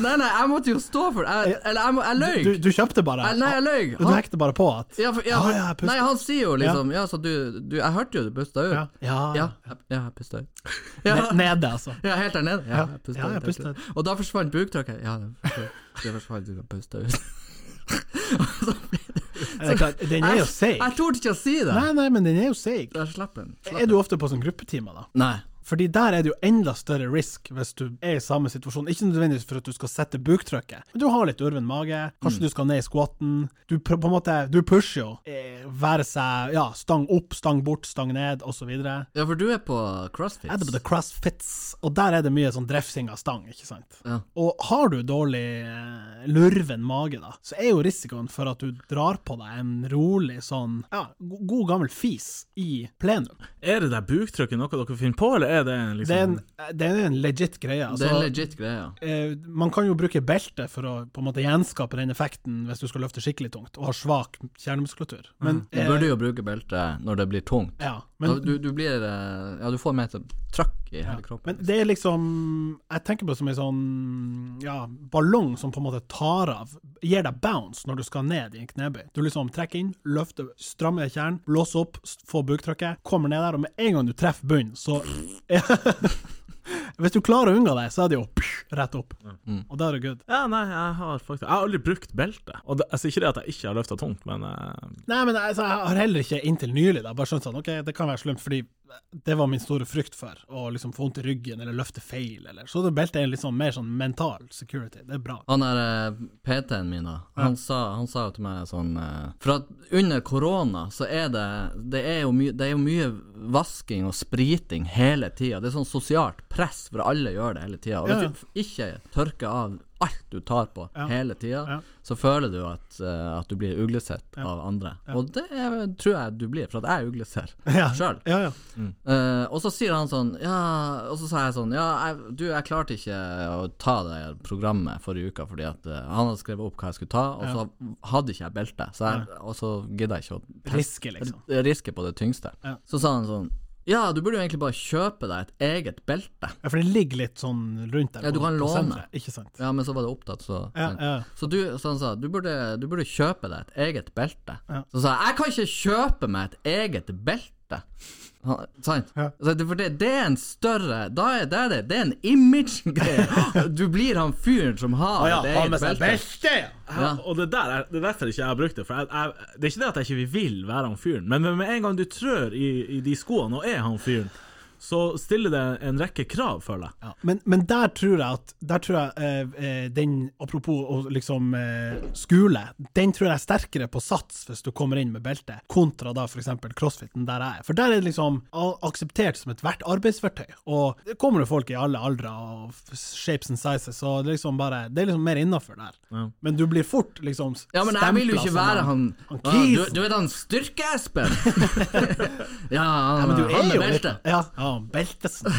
Speaker 2: Nei, nei, jeg måtte jo stå for det. Jeg- Eller jeg, må- jeg løy.
Speaker 3: Du, du kjøpte bare.
Speaker 2: Jeg- Nei, jeg løy.
Speaker 3: Du
Speaker 2: Han,
Speaker 3: hekte bare på at
Speaker 2: ja, for, ja,
Speaker 3: Ah,
Speaker 2: for,
Speaker 3: ja, jeg puster.
Speaker 2: nei, han sier jo liksom Ja, så du, du Jeg hørte jo du pusta ut.
Speaker 3: Ja.
Speaker 2: Ja, ja, jeg, ja, jeg
Speaker 3: [laughs]
Speaker 2: pusta ut. Ja,
Speaker 3: Ne- Nede, altså.
Speaker 2: ja, [laughs] helt der nede.
Speaker 3: Ja,
Speaker 2: Ja, jeg pusta
Speaker 3: ja, jeg
Speaker 2: ut.
Speaker 3: puster
Speaker 2: helt der. Og da forsvant buktrykket. Ja, det forsvant- det forsvant, du kan puste ut. Og så blir det-
Speaker 3: Det er klart, den er jo seig.
Speaker 2: Jeg torde ikke å si det.
Speaker 3: Nei, nei, men den er jo seig.
Speaker 2: Jeg slapp den.
Speaker 3: Er du ofte på sånn gruppetimer, da?
Speaker 2: Nei.
Speaker 3: Fordi der er det jo enda større risk hvis du er i samme situasjon. Ikke nødvendigvis for at du skal sette buktrykket, men du har litt urven mage,
Speaker 2: Mm.
Speaker 3: kanskje du skal ned i squatten. Du pr- på en måte, du pusher jo. Eh, Være seg ja, stang opp, stang bort, stang ned, osv. Er
Speaker 2: Ja, for du er på crossfit.
Speaker 3: det på the crossfits, og der er det mye sånn drefsing av stang, ikke sant?
Speaker 2: Ja.
Speaker 3: Og har du dårlig eh, lurven mage, da, så er jo risikoen for at du drar på deg en rolig sånn ja, go- god gammel fis i plenum.
Speaker 5: Er det der buktrykket noe dere finner på, eller er det en liksom
Speaker 3: Det er en, det er en legit greie. Altså,
Speaker 2: Det er en legit greie.
Speaker 3: eh, man kan jo bruke belte for å på en måte gjenskape den effekten hvis du skal løfte skikkelig tungt og har svak kjernemuskulatur. Men
Speaker 2: Du
Speaker 3: eh,
Speaker 2: burde jo bruke belte når det blir tungt.
Speaker 3: ja, Men-
Speaker 2: da, du, du blir eh, Ja, du får mer sånn trøkk i hele kroppen.
Speaker 3: Men det er liksom Jeg tenker på det som en sånn ja, ballong som på en måte tar av. Gir deg bounce når du skal ned i en knebøy. Du liksom trekker inn, løfter, strammer kjernen, blåser opp, s- får buktrykket, kommer ned der, og med en gang du treffer bunnen, så [laughs] ja. Hvis du klarer å unngå det, så er det jo psh, rett opp. Og da er det good.
Speaker 5: Ja, nei, jeg har faktisk Jeg har aldri brukt belte. Og det, jeg sier ikke det at jeg ikke har løfta tungt, men eh,
Speaker 3: Nei, men altså, jeg har heller ikke inntil nylig da, bare skjønt sånn, ok, det kan være slemt, fordi det var min store frykt for, å liksom få vondt i ryggen, eller løfte feil, eller så det beltet er litt sånn mer sånn mental security, det er bra.
Speaker 2: Han der eh, PT-en min, da, han, sa, han sa jo til meg sånn eh, For at under korona så er det Det er jo, my, det er jo mye vasking og spriting hele tida. Det er sånn sosialt press, for alle gjør det hele tida. Og
Speaker 3: Ja, ja.
Speaker 2: hvis du ikke tørker av alt du tar på hele tida,
Speaker 3: Ja.
Speaker 2: så føler du at, eh, at du blir uglesett av andre. Og det er, tror jeg du blir, for at jeg ugleser
Speaker 3: [laughs] Ja.
Speaker 2: sjøl.
Speaker 3: Ja, ja.
Speaker 2: Eh, og så sier han sånn Ja, og så sa jeg sånn Ja, jeg, du, jeg klarte ikke å ta det programmet forrige uka fordi at eh, han hadde skrevet opp hva jeg skulle ta, og så hadde ikke jeg belte, så jeg, og så gidda jeg ikke å teste-
Speaker 3: Riske, liksom.
Speaker 2: r- riske på det tyngste.
Speaker 3: Ja.
Speaker 2: Så sa han sånn Ja, du burde jo egentlig bare kjøpe deg et eget belte.
Speaker 3: Ja, for det ligger litt sånn rundt der.
Speaker 2: Ja, du
Speaker 3: på-
Speaker 2: kan
Speaker 3: på
Speaker 2: låne.
Speaker 3: senteret, Ikke sant?
Speaker 2: Ja, men så var det opptatt, så
Speaker 3: Ja, ja.
Speaker 2: Så, du, så han sa du burde, du burde kjøpe deg et eget belte.
Speaker 3: Ja.
Speaker 2: Så sa jeg jeg kan ikke kjøpe meg et eget belte. Han, sant?
Speaker 3: Ja.
Speaker 2: Så det, for det, det er en større Da er det er det, det er en
Speaker 3: [laughs]
Speaker 2: image-greie. Du blir han fyren som har
Speaker 3: ja,
Speaker 2: et
Speaker 3: ha med
Speaker 2: eget
Speaker 3: seg
Speaker 2: belte.
Speaker 3: belte! ja.
Speaker 2: Ja.
Speaker 5: Og det der er, det er derfor ikke jeg har brukt det. For jeg, jeg, det er ikke det at jeg ikke vil være han fyren, men med en gang du trør i, i de skoene og er han fyren, så stiller det en rekke krav, føler jeg.
Speaker 3: Men, men der tror jeg at Der tror jeg eh, eh, den, apropos å liksom eh, skule, den tror jeg er sterkere på sats hvis du kommer inn med belte, kontra da f.eks. crossfiten der jeg er. For der er det liksom a- akseptert som ethvert arbeidsverktøy. Og det kommer jo folk i alle aldre og f- shapes and sizes, så det er liksom bare Det er liksom mer innafor der. Men du blir fort liksom s-
Speaker 2: Ja, men jeg vil
Speaker 3: stemplet
Speaker 2: jo ikke
Speaker 3: som
Speaker 2: være han,
Speaker 3: han
Speaker 2: Ah, du,
Speaker 3: kisen.
Speaker 2: du vet han
Speaker 3: [laughs]
Speaker 2: Styrke-Espen? ja, han,
Speaker 3: Men du
Speaker 2: han
Speaker 3: er
Speaker 2: med
Speaker 3: jo litt
Speaker 2: belte.
Speaker 3: Ja, Mm. ja beltesen.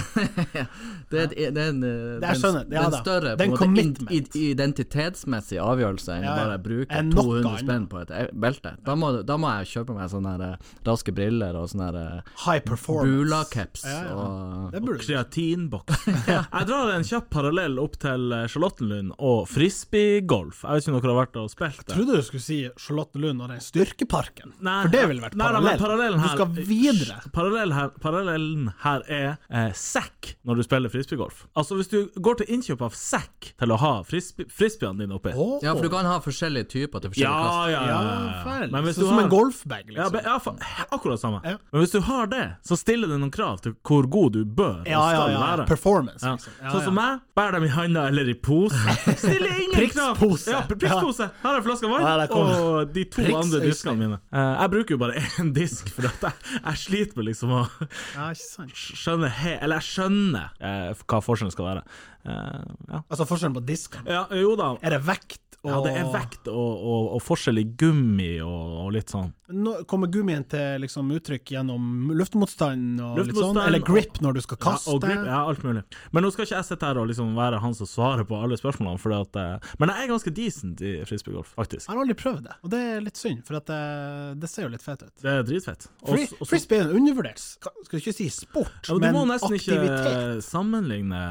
Speaker 2: Det er, et- det er en, eh,
Speaker 3: Det er skjønner,
Speaker 2: den-
Speaker 3: ja
Speaker 2: den
Speaker 3: da.
Speaker 2: større
Speaker 3: Det er en
Speaker 2: på en måte,
Speaker 3: commitment.
Speaker 2: id- identitetsmessig avgjørelse enn
Speaker 3: Ja,
Speaker 2: å
Speaker 3: ja.
Speaker 2: bare bruke
Speaker 3: Enn noe
Speaker 2: 200
Speaker 3: annet.
Speaker 2: spenn på et eh, belte. Da må, du- da må jeg kjøpe meg sånne her, eh, raske briller og sånne her, eh,
Speaker 3: High performance.
Speaker 2: Bula-caps
Speaker 3: Ja, ja.
Speaker 2: og
Speaker 3: Det burde du. [laughs]
Speaker 5: Kreatinboks. Jeg drar en kjapp parallell opp til eh, Charlottenlund og frisbeegolf. Jeg vet ikke om dere har vært og spilt det?
Speaker 3: trodde du skulle si Charlottenlund og den styrkeparken,
Speaker 5: Nei,
Speaker 3: for det ville vært
Speaker 5: nei, nei,
Speaker 3: parallell.
Speaker 5: men parallellen
Speaker 3: du
Speaker 5: her-
Speaker 3: skal videre.
Speaker 5: Hysj, Parallell her, parallellen her er eh, sekk når du spiller frisbeegolf. Altså, hvis du går til innkjøp av sekk til å ha frisbe, frisbeene dine oppi
Speaker 3: Åh.
Speaker 2: Ja, for du kan ha forskjellige typer til forskjellige
Speaker 5: Ja,
Speaker 2: kast.
Speaker 5: ja, ja.
Speaker 3: Ja, feil.
Speaker 5: Men hvis
Speaker 3: Sånn
Speaker 5: du
Speaker 3: som
Speaker 5: har-
Speaker 3: en golfbag,
Speaker 5: Ja,
Speaker 3: liksom.
Speaker 5: be, ja, fa akkurat samme.
Speaker 3: Ja.
Speaker 5: Men hvis du har det, så stiller det noen krav til hvor god du bør
Speaker 3: Ja,
Speaker 5: og
Speaker 3: ja,
Speaker 5: skal
Speaker 3: ja.
Speaker 5: være.
Speaker 3: Performance,
Speaker 5: Ja.
Speaker 3: liksom. Ja,
Speaker 5: sånn som
Speaker 3: ja.
Speaker 5: meg, bærer dem i handa eller i pose. [laughs] Stiller ingen krav!
Speaker 3: Prikspose.
Speaker 5: Ja, pr- prikspose. Her er en flaske vann
Speaker 3: Ja, der kom
Speaker 5: og de to
Speaker 3: Priks-
Speaker 5: andre diskene mine. Eh, jeg bruker jo bare én disk, for at jeg, jeg sliter med liksom å
Speaker 3: ja, ikke sant.
Speaker 5: skjønne he Eller jeg skjønner eh, hva forskjellen skal være. Eh, ja.
Speaker 3: Altså forskjellen på disken.
Speaker 5: ja, jo da.
Speaker 3: Er det vekt og
Speaker 5: Ja, det er vekt og, og, og forskjell i gummi og, og litt sånn.
Speaker 3: Nå kommer gummien til liksom, uttrykk gjennom luftmotstand og litt sånn,
Speaker 5: Luftmotstand
Speaker 3: eller
Speaker 5: og-
Speaker 3: grip når du skal kaste.
Speaker 5: Ja, og grip, ja, alt mulig. Men nå skal ikke jeg sitte her og liksom være han som svarer på alle spørsmålene, fordi at eh, Men jeg er ganske decent i frisbeegolf, faktisk.
Speaker 3: Jeg har aldri prøvd det, og det er litt synd, for at det, det ser jo litt fett ut.
Speaker 5: Det er dritfett. Og
Speaker 3: Fri,
Speaker 5: s- og så-
Speaker 3: frisbee er en undervurdert, ska- skal ikke si sport,
Speaker 5: ja, men du må
Speaker 3: men
Speaker 5: nesten
Speaker 3: aktivitet.
Speaker 5: ikke sammenligne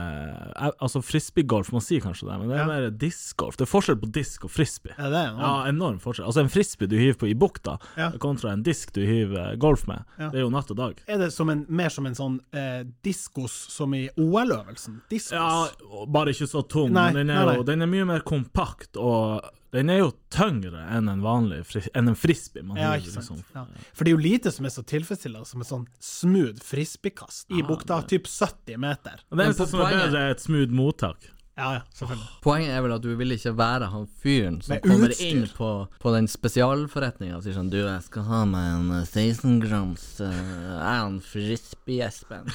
Speaker 5: eh, Altså frisbeegolf, man sier kanskje det, men det er
Speaker 3: Ja.
Speaker 5: mer discgolf. Det er forskjell på disk og frisbee.
Speaker 3: Ja, det er noe.
Speaker 5: Ja, enorm forskjell. Altså en frisbee du hiver på i bukta,
Speaker 3: Ja.
Speaker 5: kontra en disk du hiver eh, golf med,
Speaker 3: Ja.
Speaker 5: det er jo natt og dag.
Speaker 3: Er det som en, mer som en sånn eh, diskos som i OL-øvelsen? Diskos?
Speaker 5: Ja, og bare ikke så tung.
Speaker 3: Nei,
Speaker 5: men den er,
Speaker 3: nei,
Speaker 5: jo,
Speaker 3: nei.
Speaker 5: den er mye mer kompakt, og den er jo tyngre enn en vanlig fris enn en frisbee. Man
Speaker 3: Ja,
Speaker 5: hiver,
Speaker 3: ikke sant.
Speaker 5: liksom.
Speaker 2: sånn.
Speaker 3: Ja. For det er jo lite som er så tilfredsstillende som en sånn smooth frisbeekast i bukta, typ 70 meter.
Speaker 5: Og Det eneste
Speaker 2: på
Speaker 5: som er
Speaker 2: poenget-
Speaker 5: bedre, er et smooth mottak.
Speaker 3: Ja, ja, selvfølgelig.
Speaker 2: Poenget er vel at du vil ikke være han fyren som
Speaker 3: Med
Speaker 2: kommer
Speaker 3: utstyr.
Speaker 2: inn på, på den spesialforretninga og sier sånn Du, jeg skal ha meg en eh, 16 grams eh, Er
Speaker 3: [laughs]
Speaker 2: han frisbee-Espen?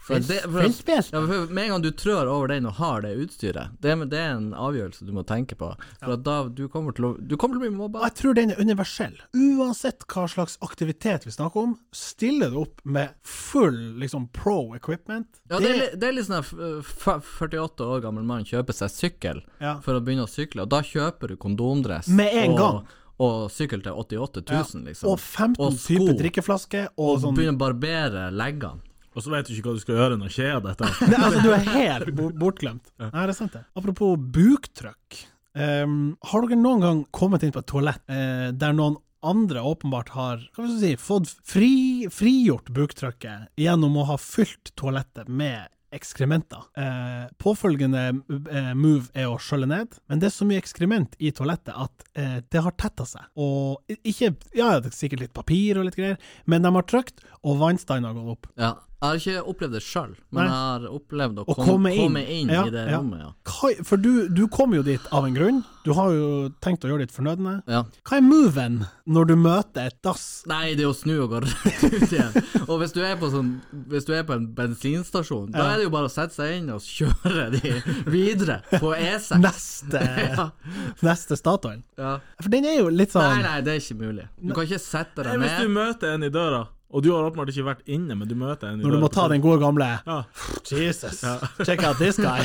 Speaker 2: For det- for at-
Speaker 3: Frisbee-Espen?
Speaker 2: Ja, for med en gang du trør over den og har det utstyret, det, er- det er en avgjørelse du må tenke på. For at da du kommer til å Du kommer til å bli
Speaker 3: Og
Speaker 2: mobba.
Speaker 3: jeg tror den er universell. Uansett hva slags aktivitet vi snakker om, stiller du opp med full liksom, pro equipment.
Speaker 2: Ja, det, er, li- det er litt sånn at eh, fa- 48 år gammel mann kjøper seg sykkel
Speaker 3: Ja.
Speaker 2: for å begynne å sykle, og da kjøper du kondomdress
Speaker 3: Med en
Speaker 2: og,
Speaker 3: gang.
Speaker 2: og sykkel til 88 000, liksom.
Speaker 3: Og 15
Speaker 2: Og sko.
Speaker 3: typer drikkeflasker og
Speaker 2: Og
Speaker 3: sånn
Speaker 2: begynne å barbere leggene.
Speaker 5: Og så vet du ikke hva du skal gjøre når skjea
Speaker 3: [laughs]
Speaker 5: detter.
Speaker 3: Nei, altså, du er helt bo- bortglemt. Nei, det er sant, det. Apropos buktrykk. Em, har dere noen gang kommet inn på et toalett eh, der noen andre åpenbart har hva skal vi si, fått fri, frigjort buktrykket gjennom å ha fylt toalettet med ekskrementer? Eh, påfølgende eh, move er å skjølle ned, men det er så mye ekskrement i toalettet at eh, det har tetta seg. Og i- ikke Ja, det er sikkert litt papir og litt greier, men de har trykt, og vannstanden har gått opp.
Speaker 2: Ja. Jeg har ikke opplevd det sjøl, men
Speaker 3: Nei.
Speaker 2: jeg har opplevd å
Speaker 3: Å
Speaker 2: komme,
Speaker 3: komme inn.
Speaker 2: Sånn komme inn
Speaker 3: Ja,
Speaker 2: i det
Speaker 3: ja.
Speaker 2: rommet, ja.
Speaker 3: Hva, for du, du kom jo dit av en grunn. Du har jo tenkt å gjøre ditt fornødne.
Speaker 2: ja.
Speaker 3: Hva er moven når du møter et dass?
Speaker 2: Nei, det er å snu og gå [laughs] rett ut igjen. Og hvis du er på, sånn, hvis du er på en bensinstasjon, da
Speaker 3: Ja.
Speaker 2: er det jo bare å sette seg inn og [laughs] kjøre de videre på E E6.
Speaker 3: Neste,
Speaker 2: [laughs] Ja,
Speaker 3: neste Statoil.
Speaker 2: ja.
Speaker 3: For den er jo litt
Speaker 2: Nei,
Speaker 3: sånn
Speaker 2: nei, det er ikke mulig. Du kan ikke sette deg
Speaker 5: Hvis du
Speaker 2: ned.
Speaker 5: møter en i døra, og du har åpenbart ikke vært inne, men du møter en i
Speaker 3: Når du
Speaker 5: døra
Speaker 3: må ta den gode gamle
Speaker 5: Ja.
Speaker 3: [laughs] Jesus, check out this
Speaker 2: [laughs]
Speaker 3: guy.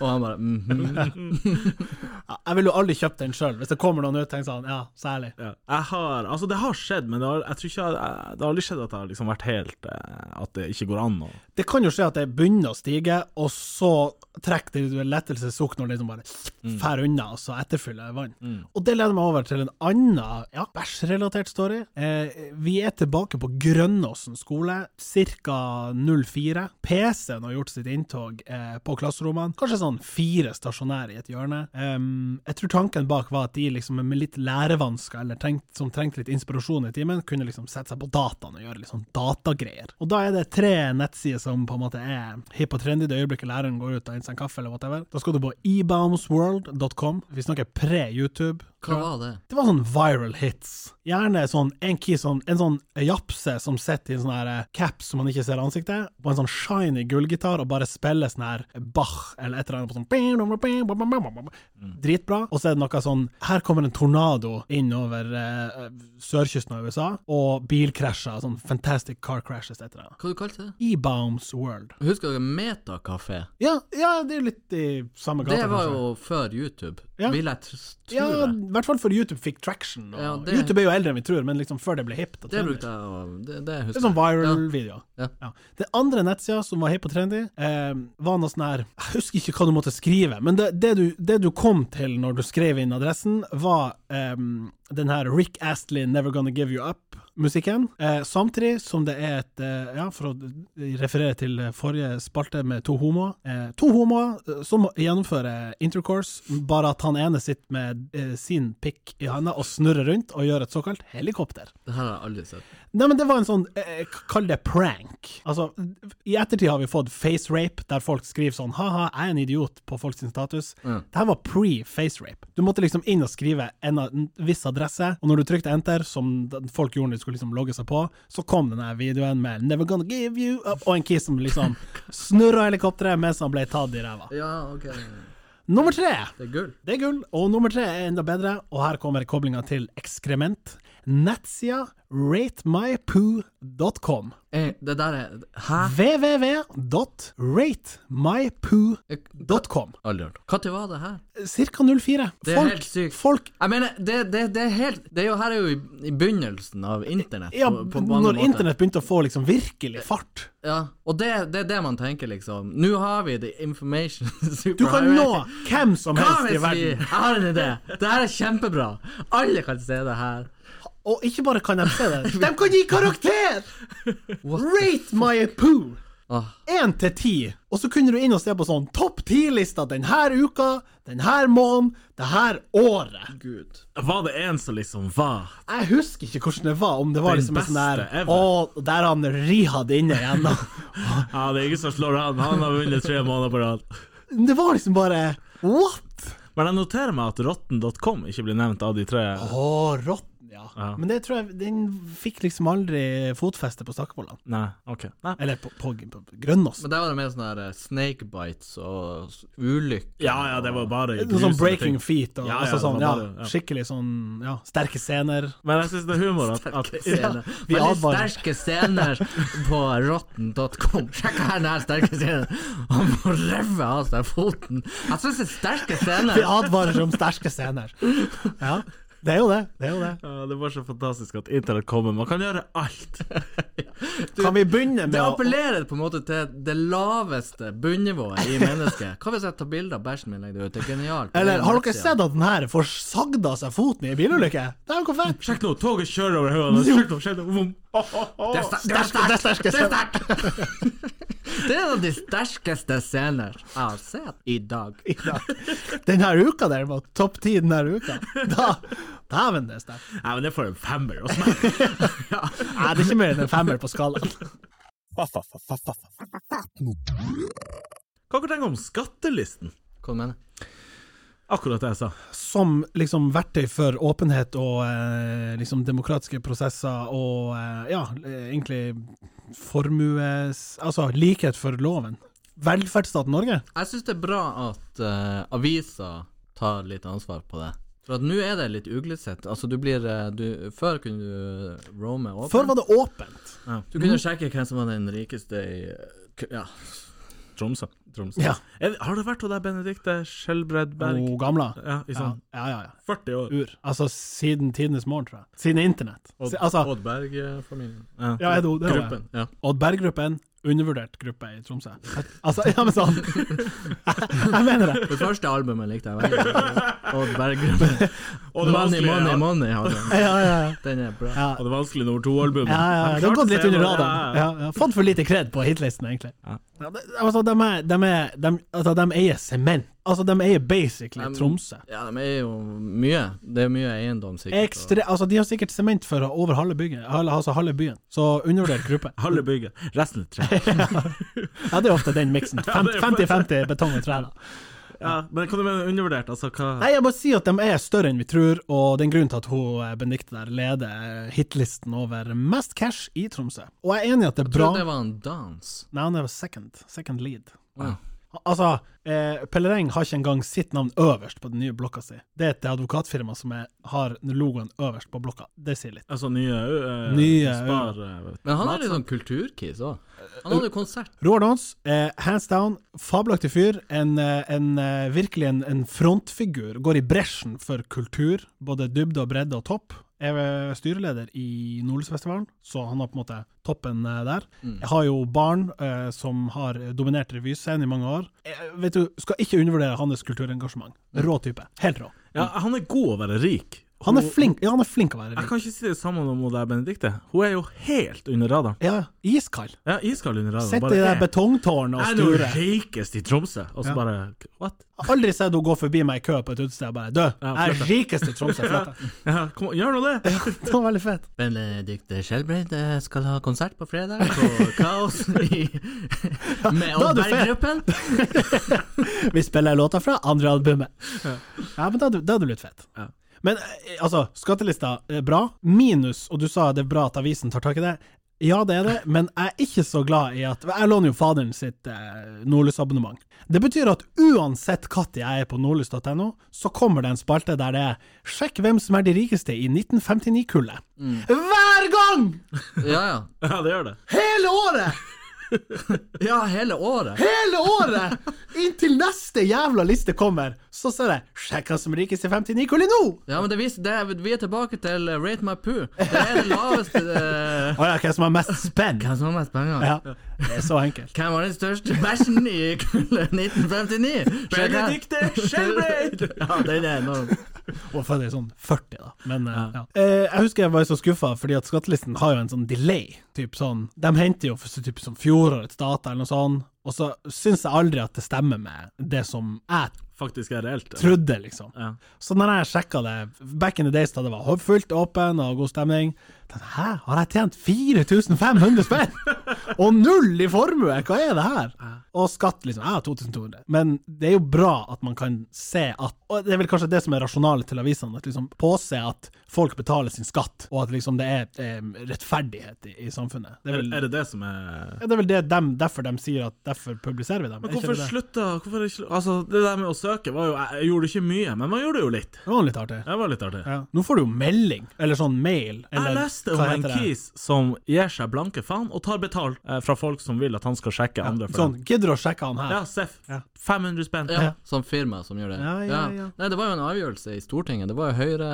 Speaker 2: Og han bare mhm.
Speaker 3: Ja, Jeg ville jo aldri kjøpt den sjøl, hvis det kommer noen ut tenker sånn, ja, særlig.
Speaker 5: Ja. Jeg har, altså det har skjedd, men det har, jeg tror ikke jeg, jeg- det har aldri skjedd at jeg har liksom vært helt eh, At det ikke går an å
Speaker 3: Det kan jo skje at det begynner å stige, og så trekker det ut et lettelsessukk når det liksom bare fær unna, og så etterfyller det vann. Og det leder meg over til en annen ja, bæsjrelatert story. Eh, vi er tilbake på Grønnåsen skole, ca. 04. PC-en har gjort sitt inntog eh, på klasserommene. Kanskje sånn fire stasjonære i et hjørne. Em, jeg tror tanken bak var at de liksom med litt lærevansker, eller trengt, som trengte litt inspirasjon i timen, kunne liksom sette seg på dataen og gjøre litt sånn datagreier. Og da er det tre nettsider som på en måte er hipp og trendy det øyeblikket læreren går ut og henter seg en kaffe eller whatever. Da skal du på eboundsworld.com. Vi snakker pre-YouTube.
Speaker 2: Hva var det?
Speaker 3: Det var sånn viral hits. Gjerne sånn en kis, sånn, en sånn japse som sitter i en sånn her eh, caps som man ikke ser ansiktet, på en sånn shiny gullgitar og bare spiller sånn her Bach eller et eller annet sånn på sånn
Speaker 2: Mm.
Speaker 3: Dritbra. Og så er det noe sånn Her kommer en tornado innover eh, sørkysten av USA, og bilkrasjer, sånn fantastic car crashes, et eller annet.
Speaker 2: Hva du kalte du det?
Speaker 3: Ebounds World.
Speaker 2: Husker dere Metakafé?
Speaker 3: Ja, ja, det er jo litt i samme gata.
Speaker 2: Det var
Speaker 3: kanskje.
Speaker 2: jo før YouTube,
Speaker 3: Ja.
Speaker 2: vil jeg tr- tro.
Speaker 3: ja,
Speaker 2: det.
Speaker 3: i hvert fall før YouTube fikk traction. Og
Speaker 2: Ja, det-
Speaker 3: YouTube er jo eldre enn vi tror, men liksom før det ble hipt. og
Speaker 2: Det
Speaker 3: trendy.
Speaker 2: brukte jeg å Det, det
Speaker 3: Det
Speaker 2: husker
Speaker 3: er sånn
Speaker 2: jeg.
Speaker 3: viral video.
Speaker 2: Ja.
Speaker 3: Ja. Det andre nettsida som var hipp og trendy, eh, var noe sånn her Jeg husker ikke hva du måtte skrive, men det, det, du, det du kom til når du skrev inn adressen, var eh, den her Rick Astley 'Never Gonna Give You Up'-musikken. Eh, samtidig som det er et eh, Ja, for å referere til forrige spalte med to homoer. Eh, to homoer eh, som gjennomfører intercourse, bare at han ene sitter med eh, sin pikk i handa og snurrer rundt og gjør et såkalt helikopter.
Speaker 2: Det her har jeg aldri sett.
Speaker 3: Nei, men det var en sånn, eh, kall det prank. Altså, i ettertid har vi fått face rape, der folk skriver sånn, haha, jeg er en idiot på folks status. Det her var pre-face rape. Du måtte liksom inn og skrive en, av- en viss adresse, og når du trykte enter, som d- folk gjorde når de skulle liksom logge seg på, så kom denne videoen med Never gonna give you up, og en kis som liksom snurra helikopteret mens han ble tatt i ræva.
Speaker 2: Ja, OK.
Speaker 3: Nummer tre!
Speaker 2: Det er gull.
Speaker 3: Det er gull. Og nummer tre er enda bedre, og her kommer koblinga til ekskrement. Nettsida ratemypoo.com.
Speaker 2: Eh, Det der er Hæ?
Speaker 3: www.ratemypoo.com.
Speaker 2: Aldri hørt. Når var det her?
Speaker 3: Cirka 04.
Speaker 2: Det er
Speaker 3: folk,
Speaker 2: helt sykt.
Speaker 3: Folk
Speaker 2: Jeg mener, det, det, det er helt Det er jo her er jo i, i begynnelsen av internett.
Speaker 3: ja,
Speaker 2: på- på mange
Speaker 3: Når
Speaker 2: måter.
Speaker 3: internett begynte å få liksom virkelig fart.
Speaker 2: Ja, Og det, det er det man tenker, liksom. Nå har vi the information [laughs]
Speaker 3: Du kan nå hvem som
Speaker 2: Hva
Speaker 3: helst i
Speaker 2: hvis vi
Speaker 3: verden.
Speaker 2: Jeg har en idé! Det her er kjempebra! Alle kan se det her.
Speaker 3: Og ikke bare kan de se
Speaker 2: [laughs]
Speaker 3: det, de kan gi karakter! Rate my poo.
Speaker 2: Åh,
Speaker 3: én til ti, og så kunne du inn og se på sånn topp ti-lista denne uka, denne måneden, det her året.
Speaker 2: gud.
Speaker 5: Var det en som liksom var
Speaker 3: Jeg husker ikke hvordan det var, om det var
Speaker 5: Den
Speaker 3: liksom en sånn der
Speaker 5: beste ever.
Speaker 3: Å, der er han Rihad inne igjen,
Speaker 5: [laughs]
Speaker 3: da.
Speaker 5: Ja, det er ingen som slår han. Han har vunnet tre måneder på rad.
Speaker 3: Det var liksom bare What?!
Speaker 5: Men jeg noterer meg at rotten.com ikke blir nevnt av de tre.
Speaker 3: Å, rotten, ja.
Speaker 5: Ja.
Speaker 3: Men det tror jeg Den fikk liksom aldri fotfeste på Stakkevollan.
Speaker 5: Nei, OK. Nei.
Speaker 3: Eller på, på, på Grønås.
Speaker 2: Men der var det mer sånn her eh, snake bites og s- ulykker.
Speaker 5: Ja ja, det var bare
Speaker 3: Noe sånn
Speaker 5: grusomme
Speaker 3: breaking
Speaker 5: ting.
Speaker 3: feet og
Speaker 5: Ja, ja,
Speaker 3: altså
Speaker 5: det
Speaker 3: sånn,
Speaker 5: var
Speaker 3: ja,
Speaker 5: bare- ja.
Speaker 3: skikkelig sånn ja, sterke scener.
Speaker 5: Men jeg syns det er humor at,
Speaker 2: [laughs]
Speaker 5: at
Speaker 2: Scener.
Speaker 3: vi
Speaker 2: Veldig
Speaker 3: advarer.
Speaker 2: sterke scener på
Speaker 3: [laughs]
Speaker 2: rotten.com. Sjekk her den her sterke scenen. Han må rive av seg foten. Jeg syns det er sterke
Speaker 3: Vi
Speaker 2: scener.
Speaker 5: [laughs]
Speaker 3: advarer om sterke scener. Ja. Det er jo det. det, er jo det.
Speaker 5: Ja, det var så fantastisk at internett kommer. Man kan gjøre alt. [laughs]
Speaker 3: Kan vi begynne med
Speaker 2: Det
Speaker 3: å
Speaker 2: appellerer på en måte til det laveste bunnivået i mennesket. Hva hvis jeg tar bilde av bæsjen min og legger det ut? Det er genialt.
Speaker 3: Eller har dere sett at den her får sagd av seg foten i en bilulykke? Det er jo konfett.
Speaker 5: Sjekk nå, toget kjører over høyene. Sjekk nå, sjekk nå. Vom.
Speaker 2: Det er sterkt! Det er sterkt! Det er, sterkt. [laughs] det er en av de sterkeste scener jeg har sett i dag.
Speaker 3: Denne uka, derimot. Topp ti denne uka. Da Dæven, det er sterkt.
Speaker 5: Nei, men det får en femmer hos meg.
Speaker 3: Nei, det er ikke mer enn en femmer på skalaen.
Speaker 5: Hva dere tenker om skattelisten?
Speaker 2: Hva du mener du?
Speaker 5: Akkurat det jeg sa.
Speaker 3: Som liksom verktøy for åpenhet og eh, liksom demokratiske prosesser og eh, ja, eh, egentlig formues... Altså likhet for loven. Velferdsstaten Norge.
Speaker 2: Jeg syns det er bra at uh, aviser tar litt ansvar på det. For at nå er det litt uglesett. Altså, du blir eh, du, Før kunne du roame åpent.
Speaker 3: Før var det åpent.
Speaker 2: Du kunne sjekke hvem som var den rikeste i eh, k- Ja.
Speaker 5: Tromsø. Tromsø.
Speaker 3: Ja.
Speaker 5: Er, har det vært hun der Benedicte Skjelbred Berg?
Speaker 3: Og Oh, gamla.
Speaker 5: Ja, i
Speaker 3: Ja,
Speaker 5: sånn
Speaker 3: ja, ja. ja.
Speaker 5: 40 år.
Speaker 3: Ur. Altså siden tidenes morgen, tror jeg. Siden internett. Si- altså,
Speaker 2: Odd Berg-familien.
Speaker 3: ja, er det, det er det.
Speaker 2: Gruppen. Ja.
Speaker 3: Odd Berg-gruppen, undervurdert gruppe i Tromsø. Altså, ja, men sånn. [laughs] Jeg, jeg mener det.
Speaker 2: Det første albumet likte jeg veldig godt. Odd Berg-gruppen.
Speaker 5: Og
Speaker 2: Money,
Speaker 5: det vanskelige-
Speaker 2: money, money. har den.
Speaker 3: Ja, ja, ja.
Speaker 2: Den er bra.
Speaker 3: Ja.
Speaker 5: Og det vanskelige nummer to-albumet.
Speaker 3: Ja, ja, ja. Det har gått litt under radaren. Ja, ja. Fått for lite kred på hitlisten, egentlig.
Speaker 5: Ja.
Speaker 3: Ja, det, altså, de, er, de, er, de, altså, de eier sement. Altså, de eier basically
Speaker 2: Um,
Speaker 3: Tromsø.
Speaker 2: Ja, de er jo mye. Det er mye eiendom, sikkert. og-
Speaker 3: Ekstre, altså, de har sikkert sement for over halve byen. Altså, halve byen. Så undervurdert gruppe.
Speaker 5: Halve bygget. Resten er
Speaker 3: [laughs]
Speaker 5: tre.
Speaker 3: Ja, det er ofte den miksen.
Speaker 5: Ja, det er-
Speaker 3: 50-50 betong og trær. da.
Speaker 5: Ja, men hva du mener undervurdert? Altså, hva
Speaker 3: Nei, jeg bare sier at de er større enn vi tror, og det er en grunn til at hun eh, Benedicte der leder eh, hitlisten over mest cash i Tromsø. Og jeg er enig i at det er bra
Speaker 2: Trodde det var en dans.
Speaker 3: Nei, han er jo second. Second lead.
Speaker 2: Wow.
Speaker 3: Al- Altså, eh, Pellereng har ikke engang sitt navn øverst på den nye blokka si. Det er et advokatfirma som er, har logoen øverst på blokka. Det sier litt.
Speaker 5: Altså nye uh,
Speaker 3: Nye,
Speaker 5: Spar eh,
Speaker 2: Men han er litt sånn kulturkis òg. Han hadde jo konsert.
Speaker 3: Roar Dons, eh, hands down, fabelaktig fyr. En, eh, en, eh, virkelig en, en frontfigur. Går i bresjen for kultur, både dybde og bredde og topp. Jeg er eh, styreleder i Nordlysfestivalen, så han har på en måte toppen eh, der.
Speaker 5: Mm.
Speaker 3: Jeg har jo barn eh, som har dominert revyscenen i mange år. Jeg, vet du, Skal ikke undervurdere hans kulturengasjement. Rå type. Helt rå.
Speaker 5: Ja, han er god å være rik.
Speaker 3: Han er flink, ja, han er flink å være
Speaker 5: Jeg
Speaker 3: rik.
Speaker 5: kan ikke si det samme om hun der Benedicte. Hun er jo helt under radaren.
Speaker 3: Ja, iskald.
Speaker 5: Ja, iskald under radaren.
Speaker 3: Sitter i det
Speaker 5: er-
Speaker 3: betongtårnet og
Speaker 5: Jeg er nå
Speaker 3: sturer.
Speaker 5: rikest i Tromsø, og så bare What?
Speaker 3: Jeg har Aldri sett henne gå forbi meg i kø på et utested og bare Dø, jeg er
Speaker 5: flytt
Speaker 3: rikest i Tromsø. flytt deg."
Speaker 5: [laughs] Ja, kom, gjør nå det!
Speaker 3: Det var veldig fett.
Speaker 2: Benedicte Skjelbreid eh, skal ha konsert på fredag på Kaos i,
Speaker 3: [laughs] da
Speaker 2: med
Speaker 3: er
Speaker 2: Odd
Speaker 3: du fet.
Speaker 2: Berg-gruppen.
Speaker 3: Vi spiller låta fra andre albumet. Ja, men da, da er du litt fett.
Speaker 5: Ja.
Speaker 3: Men eh, altså, skattelista er bra. Minus, og du sa det er bra at avisen tar tak i det. Ja, det er det, men jeg er ikke så glad i at Jeg låner jo faderen sitt eh, Nordlys-abonnement. Det betyr at uansett når jeg er på nordlys.no, så kommer det en spalte der det er 'Sjekk hvem som er de rikeste i 1959-kullet'.
Speaker 5: Mm.
Speaker 3: Hver gang!
Speaker 2: Ja, ja.
Speaker 5: [laughs] Ja, det gjør det.
Speaker 3: Hele året!
Speaker 2: Ja, hele året.
Speaker 3: hele året! Inntil neste jævla liste kommer, så ser jeg 'Sjekk han som rikest i 59 kull nå!'
Speaker 2: Ja, men det viser, det er, vi er tilbake til eh, Rate My Poo. Det er det laveste [laughs] eh,
Speaker 3: Å ja, hvem som har mest spenn?
Speaker 2: Hvem som har mest penger?
Speaker 3: Ja, det er så enkelt.
Speaker 2: Hvem var den største bæsjen i kullet [laughs] 1959?
Speaker 5: Benedicte
Speaker 3: eh,
Speaker 5: Skjelbreid!
Speaker 2: [laughs] Ja, den er enorm.
Speaker 3: Hvorfor er det sånn 40, da? Men eh, ja. Eh, jeg husker jeg var så skuffa, fordi at skattelisten har jo en sånn delay. Typ sånn, De henter jo for, så typ, som fjorårets data eller noe sånt, og så syns jeg aldri at det stemmer med det som jeg
Speaker 5: Faktisk er det reelt.
Speaker 3: trodde, liksom.
Speaker 5: Ja.
Speaker 3: Så når jeg sjekka det, back in the days da det var fullt åpen og god stemning tenkte, jeg, Hæ, har jeg tjent 4500 spenn?! [laughs] og null i formue! Hva er det her?! Og skatt, liksom. Jeg har 2200. Men det er jo bra at man kan se at Og det er vel kanskje det som er rasjonalet til avisene, at liksom påse at folk betaler sin skatt, og at liksom det er eh, rettferdighet i, i samfunnet. Det er
Speaker 5: Er,
Speaker 3: vel,
Speaker 5: er det det som er
Speaker 3: ja, det er vel det dem, derfor de sier at derfor publiserer vi dem.
Speaker 5: Men
Speaker 3: Er ikke
Speaker 5: hvorfor
Speaker 3: det det?
Speaker 5: slutta hvorfor ikke, Altså, det der med å søke var jo Jeg gjorde ikke mye, men man gjorde jo litt.
Speaker 3: Det var litt artig.
Speaker 5: Det var litt artig.
Speaker 3: Ja. Nå får du jo melding, eller sånn mail. Eller,
Speaker 5: Jeg leste
Speaker 3: hva
Speaker 5: om en
Speaker 3: heter det?
Speaker 5: kis som gir seg blanke faen og tar betalt eh, fra folk som vil at han skal sjekke andre for
Speaker 3: Sånn, gidder du å sjekke han
Speaker 5: dem.
Speaker 3: her?
Speaker 5: Ja, Seff. 500 spenn.
Speaker 2: Ja, som firma som gjør det.
Speaker 3: Ja, ja, ja.
Speaker 2: Nei, det var jo en avgjørelse i Stortinget. Det var jo Høyre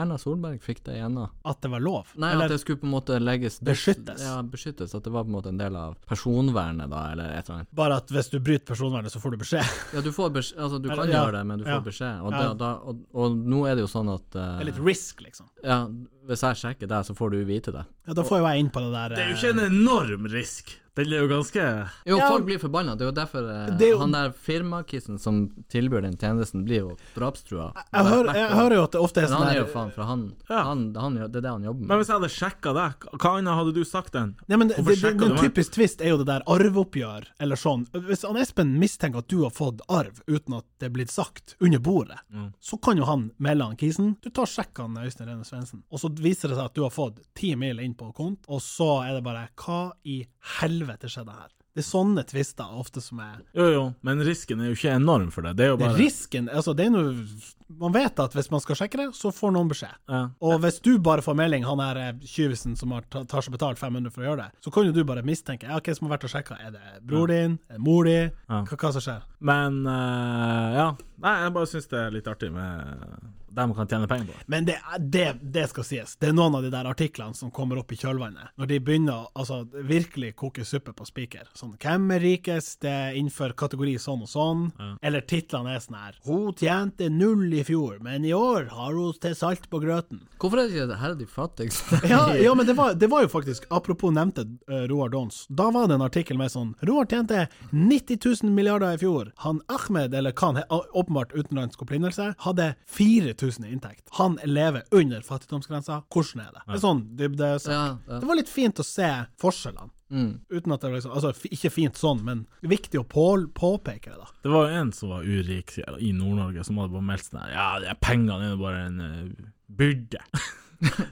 Speaker 2: Erna Solberg fikk det igjennom.
Speaker 3: At det var lov?
Speaker 2: Nei, at
Speaker 3: eller,
Speaker 2: det skulle på en måte legges
Speaker 3: Beskyttes.
Speaker 2: Ja, beskyttes. At det var på en måte en del av personvernet, da, eller et eller annet.
Speaker 3: bare at hvis du bryter personvernet, så får du beskjed? [laughs]
Speaker 2: Ja, du får beskjed Altså, du
Speaker 3: Eller-
Speaker 2: kan
Speaker 3: ja.
Speaker 2: gjøre det, men du får
Speaker 3: Ja.
Speaker 2: beskjed. Og,
Speaker 3: Ja.
Speaker 2: da, da, og, og nå er det jo sånn at eh,
Speaker 3: Det er litt risk, liksom.
Speaker 2: Ja, hvis jeg sjekker deg, så får du vite det.
Speaker 3: Ja, da får jo jeg inn på det der eh,
Speaker 5: Det er jo ikke en enorm risk. Den er jo ganske
Speaker 2: Jo,
Speaker 3: Ja.
Speaker 2: folk blir forbanna. Det er jo derfor eh,
Speaker 3: Det er jo-
Speaker 2: han der firmakissen som tilbyr den tjenesten, blir jo drapstrua.
Speaker 3: jeg,
Speaker 2: Hvert-
Speaker 3: hører,
Speaker 2: hvert
Speaker 3: jeg
Speaker 2: år.
Speaker 3: hører jo at det ofte er
Speaker 2: Men
Speaker 3: sånn
Speaker 2: han er
Speaker 3: der
Speaker 2: jo faen fra han,
Speaker 5: Ja.
Speaker 2: han, han, gjør- Det er det han jobber med.
Speaker 5: Men hvis jeg hadde sjekka deg, hva annet hadde du sagt enn
Speaker 3: Nei, men det,
Speaker 5: Hvorfor
Speaker 3: det,
Speaker 5: sjekker
Speaker 3: men
Speaker 5: du meg?
Speaker 3: typisk tvist er jo det der arveoppgjør, eller sånn. Hvis han Espen mistenker at du har fått arv uten at det er blitt sagt, under bordet,
Speaker 5: Mm.
Speaker 3: så kan jo han melde han kisen. Du tar sjekk han Øystein Rene Svendsen, og så viser det seg at du har fått ti mil inn på kont, og så er det bare Hva i helvete skjedde her? Det er sånne tvister ofte som er
Speaker 5: Jo, jo, men risken er jo ikke enorm for det. Det er jo
Speaker 3: det er
Speaker 5: bare
Speaker 3: Risken altså det er noe, Man vet at hvis man skal sjekke det, så får noen beskjed.
Speaker 5: Ja.
Speaker 3: Og hvis du bare får melding, han her eh, tyvisen som har ta- tar seg betalt 500 for å gjøre det, så kan jo du bare mistenke ja, hvem som har vært og sjekka. Er det bror din? Er det mor di?
Speaker 5: Ja.
Speaker 3: Hva, hva som skjer?
Speaker 5: Men eh, ja. Nei, jeg bare syns det er litt artig med dem kan tjene penger på.
Speaker 3: Men det, er- det, det skal sies, det er noen av de der artiklene som kommer opp i kjølvannet, når de begynner å altså, virkelig koke suppe på spiker. Sånn, hvem er rikest Det er innenfor kategori sånn og sånn? Eller titlene er sånn her, hun tjente null i fjor, men i år har hun til salt på grøten.
Speaker 2: Hvorfor er det ikke det her er de fattigste? [laughs]
Speaker 3: Ja, ja men det var, det var jo faktisk Apropos nevnte eh, Roar Dons. Da var det en artikkel med sånn Roar tjente 90 000 milliarder i fjor. Han Ahmed, eller hva han he- å- åpenbart utenlandsk opprinnelse, hadde 4000 i inntekt. Han lever under fattigdomsgrensa. Hvordan er det? Det er sånn dybdesak.
Speaker 2: Ja, ja. Mm.
Speaker 3: Det var litt fint å se forskjellene. Uten at det var liksom, altså, f- ikke fint sånn, men viktig å på, påpeke det, da.
Speaker 5: Det var jo en som var urik i Nord-Norge, som hadde bare meldt sånn her Ja, de pengene er jo bare en eh,
Speaker 3: [laughs]
Speaker 5: byrde.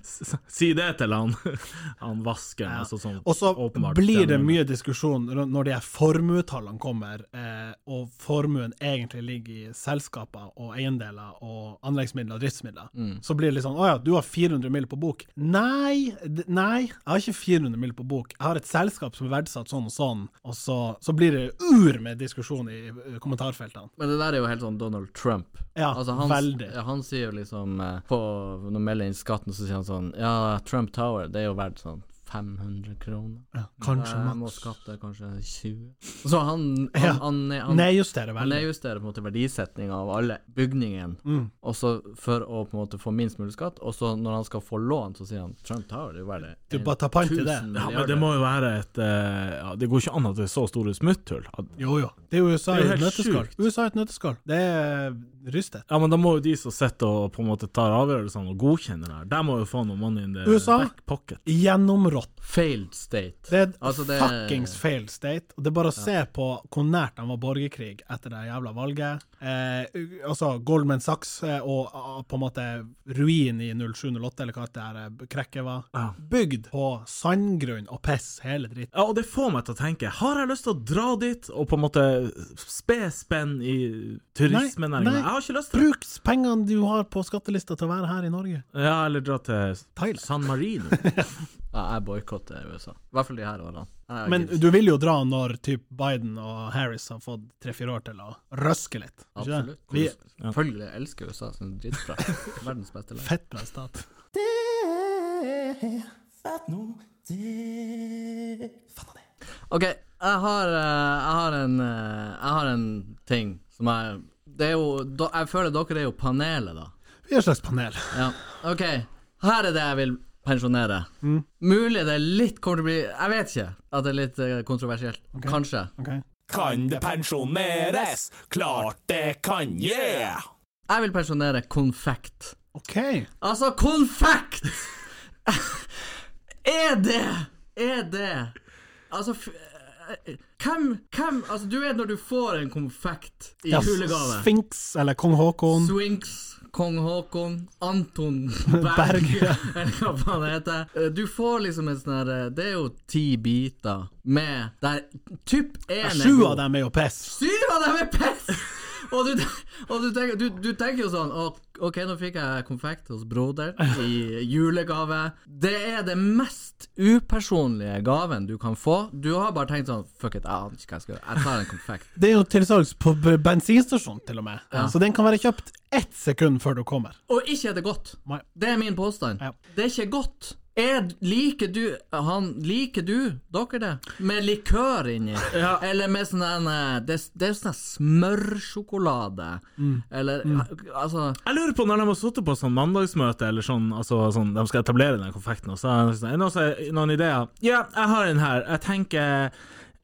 Speaker 5: S- si det til han Han vasken. Altså, sånn,
Speaker 3: Og så
Speaker 5: åpenbart
Speaker 3: blir det
Speaker 5: tjener-
Speaker 3: mye diskusjon rundt når de her formuetallene kommer, eh, og formuen egentlig ligger i selskaper og eiendeler og anleggsmidler og driftsmidler. Så blir det litt sånn Å ja, du har 400 mill. på bok. Nei, d- nei, jeg har ikke 400 mill. på bok. Jeg har et selskap som er verdsatt sånn og sånn, og så, så blir det ur med diskusjon i eh, kommentarfeltene.
Speaker 2: Men det der er jo helt sånn Donald Trump. Altså,
Speaker 3: Ja,
Speaker 2: han,
Speaker 3: veldig.
Speaker 2: ja, han sier jo liksom eh, på, Når han melder inn skatten, så sier han sånn Ja, Trump Tower, det er jo verdt sånn 500 kroner.
Speaker 3: Ja, kanskje
Speaker 2: Jeg må
Speaker 3: maks.
Speaker 2: skatte kanskje 20 Så han, han,
Speaker 3: Ja.
Speaker 2: han, han,
Speaker 3: Nedjusterer
Speaker 2: han
Speaker 3: veldig.
Speaker 2: nedjusterer på en måte verdisetninga av alle bygningene,
Speaker 3: Mm.
Speaker 2: og så for å på en måte få minst mulig skatt. Og så når han skal få lån, så sier han Trump Tower, det er jo verdt
Speaker 3: Du bare tar pant i det.
Speaker 2: 1000
Speaker 5: Ja, men det
Speaker 2: milliarder.
Speaker 5: må jo være et eh, ja, Det går ikke an at det er så store smutthull. At-
Speaker 3: Jo, jo. Det er jo USA
Speaker 5: Det er
Speaker 3: i
Speaker 5: jo
Speaker 3: et
Speaker 5: helt
Speaker 3: nøtteskall.
Speaker 5: sjukt.
Speaker 3: USA i et nøtteskall. Det er rystet.
Speaker 5: Ja, men da må jo de som sitter og på en måte tar avgjørelsene og godkjenner det her, de må jo få noe money in the
Speaker 3: USA?
Speaker 5: back pocket.
Speaker 3: Gjennomrått.
Speaker 2: Failed state.
Speaker 3: Det er et
Speaker 2: Altså, det-
Speaker 3: fuckings failed state. Og det er bare å se på hvor nært han var borgerkrig etter det jævla valget. Eh, altså Goldman Sachs eh, og ah, på en måte ruin i 0708, eller hva det der eh, krekket var.
Speaker 5: Ja.
Speaker 3: Bygd på sandgrunn og piss, hele dritten.
Speaker 5: Ja, og det får meg til å tenke, har jeg lyst til å dra dit og på en måte spe spenn i
Speaker 3: Nei,
Speaker 5: turismenæringa?
Speaker 3: nei.
Speaker 5: Jeg har ikke lyst til det.
Speaker 3: Bruk pengene du har på skattelista til å være her i Norge.
Speaker 5: Ja, eller dra til
Speaker 3: Thailand.
Speaker 5: San Marino.
Speaker 3: [laughs]
Speaker 2: Ja, jeg boikotter USA. I hvert fall de her årene. Jeg
Speaker 3: Men
Speaker 2: gidder
Speaker 3: du vil jo dra når typ Biden og Harris har fått tre-fire år til å røske litt. ikke det?
Speaker 2: Absolutt.
Speaker 3: Vi,
Speaker 2: Selvfølgelig jeg elsker USA som dritbra.
Speaker 3: [laughs]
Speaker 2: Verdens beste land.
Speaker 3: fett bra stat.
Speaker 2: OK, jeg har, eh, jeg har en eh, Jeg har en ting som jeg Det er jo da, Jeg føler dere er jo panelet, da.
Speaker 3: Vi er et slags panel.
Speaker 2: Ja. OK, her er det jeg vil pensjonere. Mulig det er litt kommer til å bli Jeg vet ikke at det er litt eh, kontroversielt. Kanskje.
Speaker 3: Ok?
Speaker 4: Kan det pensjoneres? Klart det kan, yeah!
Speaker 2: Jeg vil pensjonere konfekt.
Speaker 3: OK.
Speaker 2: Altså, konfekt! [laughs] er det Er det Altså, f- Hvem, hvem Altså, du vet når du får en konfekt i
Speaker 3: Ja,
Speaker 2: julegave?
Speaker 3: Sphinx eller kong Haakon.
Speaker 2: Swinks, kong Haakon, Anton
Speaker 3: [laughs]
Speaker 2: Berg, [laughs]
Speaker 3: Berg, ja.
Speaker 2: eller hva faen det heter. Eh, Du får liksom en sånn her eh, Det er jo ti biter med der typ én er
Speaker 3: Sju
Speaker 2: god.
Speaker 3: av dem er jo piss.
Speaker 2: Syv av dem er piss! [laughs] Og du, og du, tenker, du, du tenker jo sånn «Å, OK, nå fikk jeg konfekt hos broderen i julegave. Det er den mest upersonlige gaven du kan få. Du har bare tenkt sånn Fuck it, jeg aner ikke hva jeg skal gjøre. Jeg tar en konfekt.
Speaker 3: Det er jo til salgs på b- bensinstasjon, til og med. Så den kan være kjøpt ett sekund før du kommer.
Speaker 2: Og ikke er det godt.
Speaker 3: Nei.
Speaker 2: Det er min påstand.
Speaker 3: Ja.
Speaker 2: Det er ikke godt. Er, liker du han Liker du dere det? Med likør inni? Eller med sånn en eh, Det, det er sånn en smørsjokolade. Eller altså
Speaker 5: Jeg lurer på når de har sittet på sånn mandagsmøte, eller sånn, altså, sånn de skal etablere den konfekten, og så er det sånn, er det noen, som- noen ideer. Ja, jeg har en her. Jeg tenker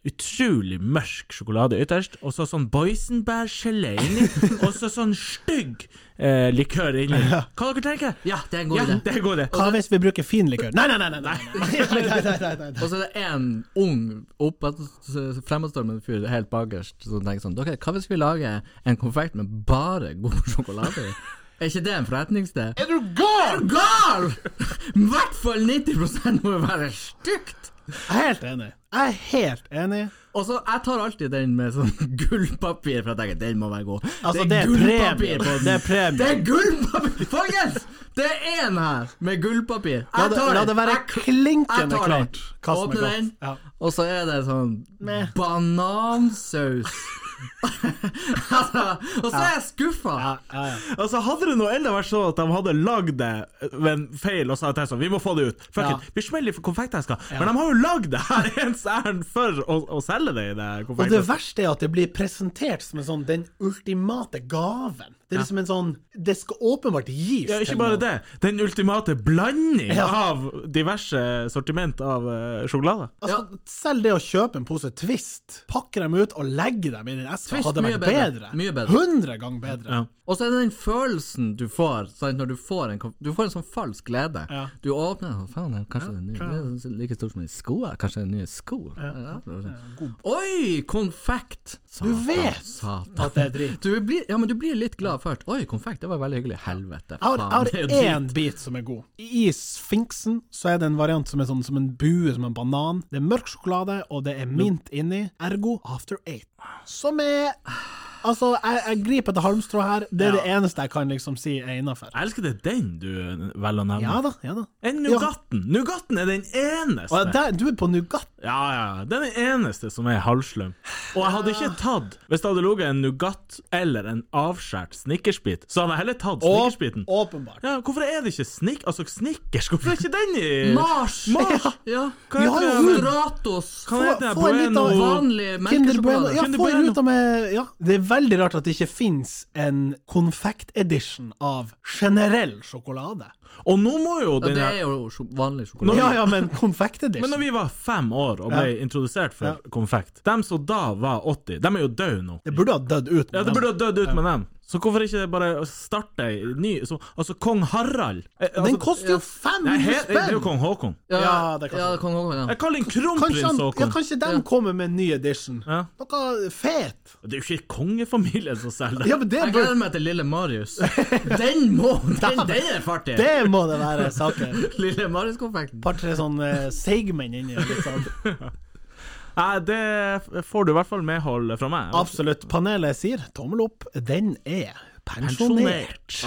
Speaker 5: utrolig mørk sjokolade ytterst, og så sånn boysenbærgelé inni, og så sånn stygg eh, likør inni. Hva dere tenker
Speaker 2: Ja, det er en god
Speaker 5: Ja,
Speaker 2: idé.
Speaker 5: det går det.
Speaker 3: Hva hvis vi bruker fin likør? Nei, nei, nei! nei, nei. nei, nei, nei, nei, nei.
Speaker 2: Og så er det en ung, oppad- s- fremadstormende fyr helt bakerst som tenker sånn Dere, hva hvis vi lager en konfekt med bare god [laughs] sjokolade i? Er ikke det en forretningssted? Er du gal?! Er du gal?! [laughs] I hvert fall 90 må jo være stygt!
Speaker 3: Jeg er helt enig. Jeg er helt enig.
Speaker 2: Og så, Jeg tar alltid den med sånn [laughs] gullpapir, for jeg tenker den må være god.
Speaker 3: Altså, det er premie. på- Det er
Speaker 2: Det
Speaker 3: premie.
Speaker 2: er gullpapir! Folkens! Det er én her med gullpapir.
Speaker 3: La
Speaker 2: Jeg
Speaker 3: det,
Speaker 2: tar
Speaker 3: la
Speaker 2: den.
Speaker 3: det være
Speaker 2: Jeg k- jeg
Speaker 3: klinkende
Speaker 2: tar den.
Speaker 3: klart hva som er
Speaker 2: Åpne den.
Speaker 3: godt. Ja.
Speaker 2: Og så er det sånn
Speaker 3: Meh. [laughs]
Speaker 2: banansaus. [laughs] altså, og så er jeg skuffa.
Speaker 3: Ja, ja, ja.
Speaker 5: Altså Hadde det nå enda vært så at de hadde lagd det ved en feil og sa at det er sånn, vi må få det ut Fuck
Speaker 3: Ja.
Speaker 5: it, vi smeller i konfekteska. Men de har jo lagd det her ens ærend for å, å selge det i det
Speaker 3: Og det
Speaker 5: konfekteska.
Speaker 3: verste er at det blir presentert som en sånn den ultimate gaven. Det er liksom en sånn Det skal åpenbart gis
Speaker 5: Ja, ikke
Speaker 3: til
Speaker 5: bare
Speaker 3: noen.
Speaker 5: det. Den ultimate blanding
Speaker 3: Ja.
Speaker 5: av diverse sortiment av eh, sjokolade.
Speaker 3: Altså, Selv det å kjøpe en pose Twist, pakke dem ut og legge dem inn i en eske,
Speaker 2: Twist,
Speaker 3: hadde
Speaker 2: mye
Speaker 3: vært
Speaker 2: bedre.
Speaker 3: bedre.
Speaker 2: Mye bedre.
Speaker 3: 100 ganger bedre.
Speaker 5: Ja.
Speaker 2: Og så er det den følelsen du får sant, når du får en, konf- du får en sånn falsk glede.
Speaker 3: Ja.
Speaker 2: Du åpner den, faen, den- kanskje den nye, det er sånn like stor som en sko? ja. Kanskje den nye sko? Ja. sånn. Oi, konfekt! Satan,
Speaker 3: vet
Speaker 2: Satan.
Speaker 3: At det er drit.
Speaker 2: Du blir, ja, men du blir litt glad først. Oi, konfekt, det var veldig hyggelig. Helvete.
Speaker 3: Jeg har,
Speaker 2: faen, det
Speaker 3: jeg
Speaker 2: er jo
Speaker 3: har én bit som er god. I sfinksen så er det en variant som er sånn som en bue, som en banan. Det er mørk sjokolade, og det er mint inni. Ergo After Eight. Som er Altså, jeg, jeg griper etter halmstrå her. Det er det eneste jeg kan liksom si er innafor.
Speaker 5: Jeg elsker det er den du velger å nevne.
Speaker 3: Ja da, ja da.
Speaker 5: Enn Nugatten. Nugatten er den eneste.
Speaker 3: Og der, du er på nougat.
Speaker 5: Ja, ja. Det er den eneste som er halvsløm. Og jeg hadde ikke tatt Hvis det hadde ligget en nougat eller en avskåret snickersbit, så hadde jeg heller tatt snickersbiten.
Speaker 3: Åpenbart.
Speaker 5: Ja, hvorfor er det ikke snick... Altså, snickers, hvorfor er ikke den i
Speaker 2: Mars!
Speaker 5: Mars!
Speaker 2: Ja.
Speaker 5: Hva
Speaker 3: Vi
Speaker 5: heter
Speaker 3: har jo
Speaker 5: det?
Speaker 2: Stratos.
Speaker 5: Hva heter det?
Speaker 3: få en liten
Speaker 5: Bueno
Speaker 2: Vanlig
Speaker 3: Kinder Bueno.
Speaker 2: melkesjokolade.
Speaker 3: Ja,
Speaker 5: Kinder
Speaker 3: få en
Speaker 5: Bueno.
Speaker 3: ut av med Ja. Det er veldig rart at det ikke fins en konfekt-edition av generell sjokolade.
Speaker 5: Og nå må jo
Speaker 2: Ja,
Speaker 5: den
Speaker 2: det
Speaker 5: her
Speaker 2: er jo sjo- vanlig
Speaker 5: Nå-
Speaker 2: sjokolade.
Speaker 3: Ja, ja, men konfekt-edition
Speaker 5: [laughs] Men når vi var fem år og ble introdusert for konfekt Dem som da var 80, dem er jo døde nå.
Speaker 3: Det burde ha dødd ut.
Speaker 5: Ja, det burde ha dødd ut med dem. Så hvorfor ikke bare starte ei ny så, Altså, kong Harald eh, altså,
Speaker 3: Den koster jo
Speaker 5: Nei,
Speaker 3: 500
Speaker 5: her, det er jo
Speaker 3: spenn!
Speaker 5: kong Håkon.
Speaker 3: Ja, det kan
Speaker 2: ja,
Speaker 3: være.
Speaker 2: det kan også være.
Speaker 5: Jeg kaller den
Speaker 3: Kanskje,
Speaker 5: kronprins
Speaker 3: han, ja,
Speaker 5: Håkon.
Speaker 3: kanskje de kommer med en ny edition.
Speaker 5: Ja.
Speaker 3: Noe fet.
Speaker 5: Det er jo ikke kongefamilien som selger
Speaker 3: Ja,
Speaker 5: det.
Speaker 3: men det,
Speaker 2: Jeg
Speaker 3: bør,
Speaker 2: gleder meg til lille
Speaker 3: [laughs]
Speaker 2: Marius. Den må Den, den er fartig!
Speaker 3: det må det være saker.
Speaker 2: Lille Marius-konfekten.
Speaker 3: Et par-tre sånne eh, seigmenn inni. Litt sånn.
Speaker 5: Nei, det f- får du i hvert fall medhold fra meg.
Speaker 3: Absolutt. Panelet sier tommel opp. Den er pensjonert.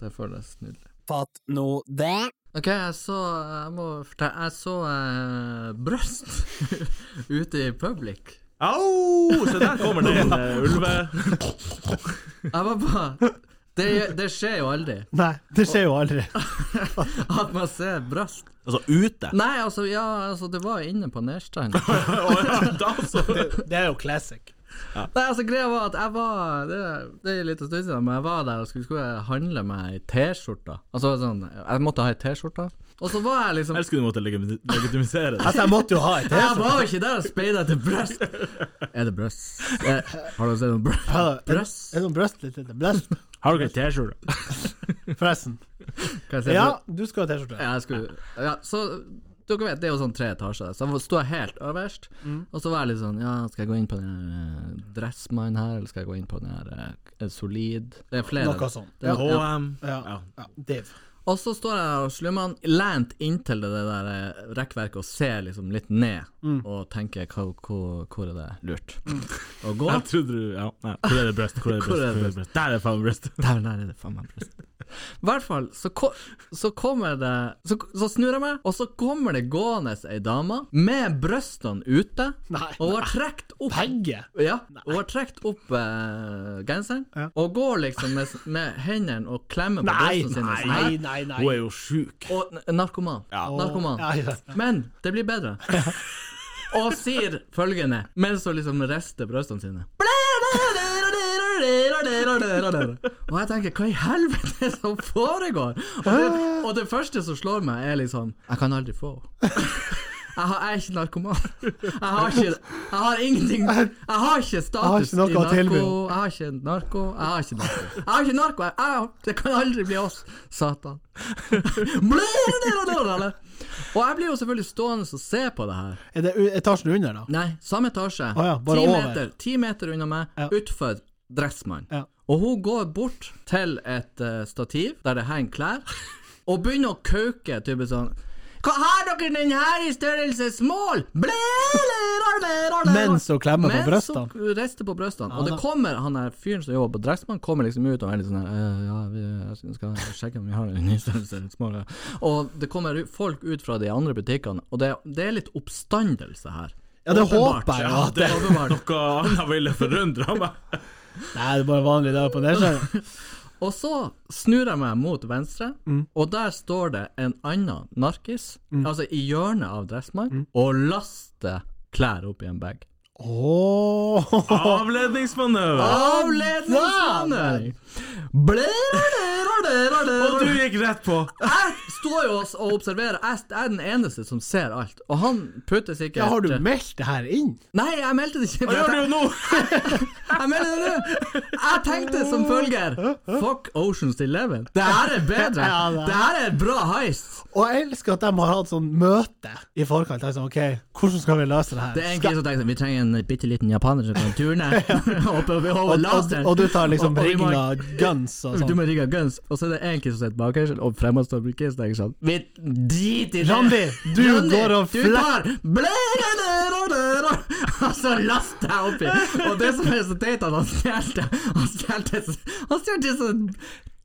Speaker 2: Det føles nydelig.
Speaker 6: Fatt nå det.
Speaker 2: Ok, jeg så Jeg må fortelle Jeg så eh, brøst [laughs] ute i public.
Speaker 5: Au! Se, der kommer det en eh, ulve...
Speaker 2: Jeg var bare det, det skjer jo aldri
Speaker 3: Nei, det skjer jo aldri.
Speaker 2: at man ser bryst.
Speaker 5: Altså ute.
Speaker 2: Nei, altså, ja, altså, det var inne på
Speaker 5: [laughs]
Speaker 2: Nerstrand.
Speaker 5: Å, ja, da så.
Speaker 3: Det er jo classic.
Speaker 2: Nei, altså greia var at jeg var Det, det er litt en stund siden, men jeg var der og skulle, skulle handle meg ei T-skjorte. Altså sånn Jeg måtte ha ei T-skjorte. Og så var jeg liksom
Speaker 5: Jeg skulle du måtte legitimi- legitimisere det.
Speaker 3: Altså, jeg måtte jo ha et
Speaker 2: Jeg
Speaker 3: T-skjorte.
Speaker 2: var jo ikke der og speida etter brøst. Er det brøst? Eh, Har du sett noe brøst?
Speaker 3: Ja, det-
Speaker 2: Brøst?
Speaker 3: Er det noe brøst litt etter? Blest,
Speaker 5: Har dere T-skjorte?
Speaker 3: forresten.
Speaker 2: Kan jeg si
Speaker 3: Ja, du skal ha T-skjorte.
Speaker 2: Ja, jeg skulle, ja, så Dere vet, det er jo sånn tre etasjer, så jeg står helt øverst.
Speaker 3: Mm.
Speaker 2: Og så var jeg litt sånn Ja, skal jeg gå inn på den her eh, Dressmann her, eller skal jeg gå inn på den her eh, Solid? Det er flere.
Speaker 3: Noe sånt.
Speaker 2: Ja, ja.
Speaker 5: HM.
Speaker 3: Ja. ja. Dave.
Speaker 2: Og så står jeg her og slummer han lent inntil det der eh, rekkverket og ser liksom litt ned
Speaker 3: Mm.
Speaker 2: og tenker hva, hva, hvor er det lurt å gå?
Speaker 5: Jeg trodde du Ja, nei. Hvor er det bryst? Hvor er det
Speaker 2: Hvor er det
Speaker 5: bryst? Hvor er det bryst? Der er faen bryst!
Speaker 2: Der, der er det faen meg brust. I hvert fall, så, ko så kommer det så, så snur jeg meg, og så kommer det gående ei dame med brystene ute,
Speaker 3: Nei.
Speaker 2: og hun har trukket opp
Speaker 3: Begge?
Speaker 2: Ja, hun har trukket opp eh, genseren,
Speaker 3: Ja.
Speaker 2: og går liksom med, med hendene og klemmer på
Speaker 3: Nei,
Speaker 2: brystene sine.
Speaker 3: nei,
Speaker 2: sånn her.
Speaker 3: nei. nei, nei.
Speaker 5: Hun er jo sjuk.
Speaker 2: Og n- narkoman.
Speaker 3: Å,
Speaker 2: Narkoman.
Speaker 3: Ja, ja.
Speaker 2: Men det blir
Speaker 3: [laughs]
Speaker 2: bedre. Og sier følgende, mens hun liksom rister brystene sine. Og jeg tenker, hva i helvete er det som foregår? Og det, og det første som slår meg, er liksom Jeg kan aldri få henne. Jeg, har, jeg er ikke narkoman. Jeg har ikke Jeg har ingenting Jeg har ikke status
Speaker 3: Jeg har ikke noe å
Speaker 2: i narko.
Speaker 3: tilby.
Speaker 2: Jeg har ikke narko. Jeg har ikke narko. Jeg har ikke narko. Jeg, jeg, det kan aldri bli oss,
Speaker 3: [laughs]
Speaker 2: satan. Og jeg blir jo selvfølgelig stående og se på det her.
Speaker 3: Er det u- etasjen under, da?
Speaker 2: Nei, samme etasje.
Speaker 3: Å ja, bare
Speaker 2: ti,
Speaker 3: over.
Speaker 2: Meter, ti meter unna meg,
Speaker 3: Ja.
Speaker 2: utfor Dressmann.
Speaker 3: Ja.
Speaker 2: Og hun går bort til et eh, stativ der det henger klær, og begynner å kauke type sånn Hva har dere den her i størrelse small?
Speaker 3: Mens hun klemmer på brystene.
Speaker 2: Mens hun rister på brystene. Og det kommer han der fyren som jobber på Dressmann, kommer liksom ut og er litt sånn her «Eh, Ja, vi jeg skal sjekke om vi har den i størrelse small. ja.» Og det kommer ut- folk ut fra de andre butikkene, og det, det er litt oppstandelse her.
Speaker 3: Ja, det
Speaker 2: Åpenbart.
Speaker 3: håper jeg jo at
Speaker 2: Det
Speaker 3: det
Speaker 2: er åpenbart.
Speaker 5: Noe annet ville forundra meg.
Speaker 3: Nei, det er bare vanlig der på nedskjæringa.
Speaker 2: Og så snur jeg meg mot venstre, og der står det en annen narkis, altså i hjørnet av Dressmark, og laster klær opp i en bag.
Speaker 3: Ååå.
Speaker 5: Avledningsmanøver!
Speaker 2: Avledningsmanøver!
Speaker 5: Og du gikk rett på!
Speaker 2: Jeg står jo og observerer, jeg jeg er den eneste som ser alt, og han putter sikkert
Speaker 3: Ja, har du meldt det her inn?
Speaker 2: Nei, jeg meldte det ikke.
Speaker 5: Hva gjør du jo nå?
Speaker 2: [laughs] Jeg mener det nå! Jeg tenkte som følger Fuck Oceans Eleven. Det her er bedre.
Speaker 3: Ja, det er-
Speaker 2: Det her er et bra heist.
Speaker 3: Og jeg elsker at de har hatt sånn møte i forkant. Jeg er sånn, ok, hvordan skal vi løse det her?
Speaker 2: Det er en
Speaker 3: Skal-
Speaker 2: kis som tenker sånn Vi trenger en bitte liten japaner som kan
Speaker 3: [laughs]
Speaker 2: turne. [laughs] Oppe over
Speaker 3: og, og,
Speaker 2: laseren.
Speaker 3: og du tar liksom
Speaker 2: Og- og vi må-
Speaker 3: ringa guns og
Speaker 2: Du
Speaker 3: sånn.
Speaker 2: må rigge guns. Og så er det en kis som sitter bak her, og fremme står en kis og tenker sånn Vi driter i det.
Speaker 3: Randi, du
Speaker 2: Randi,
Speaker 3: går og
Speaker 2: du
Speaker 3: flekker
Speaker 2: tar blæ-blæ-blæ-blæ-blæ-blæ, Og så laster jeg oppi. Og det som er så teit, at han stjelte Han stjelte Han stjelte sånn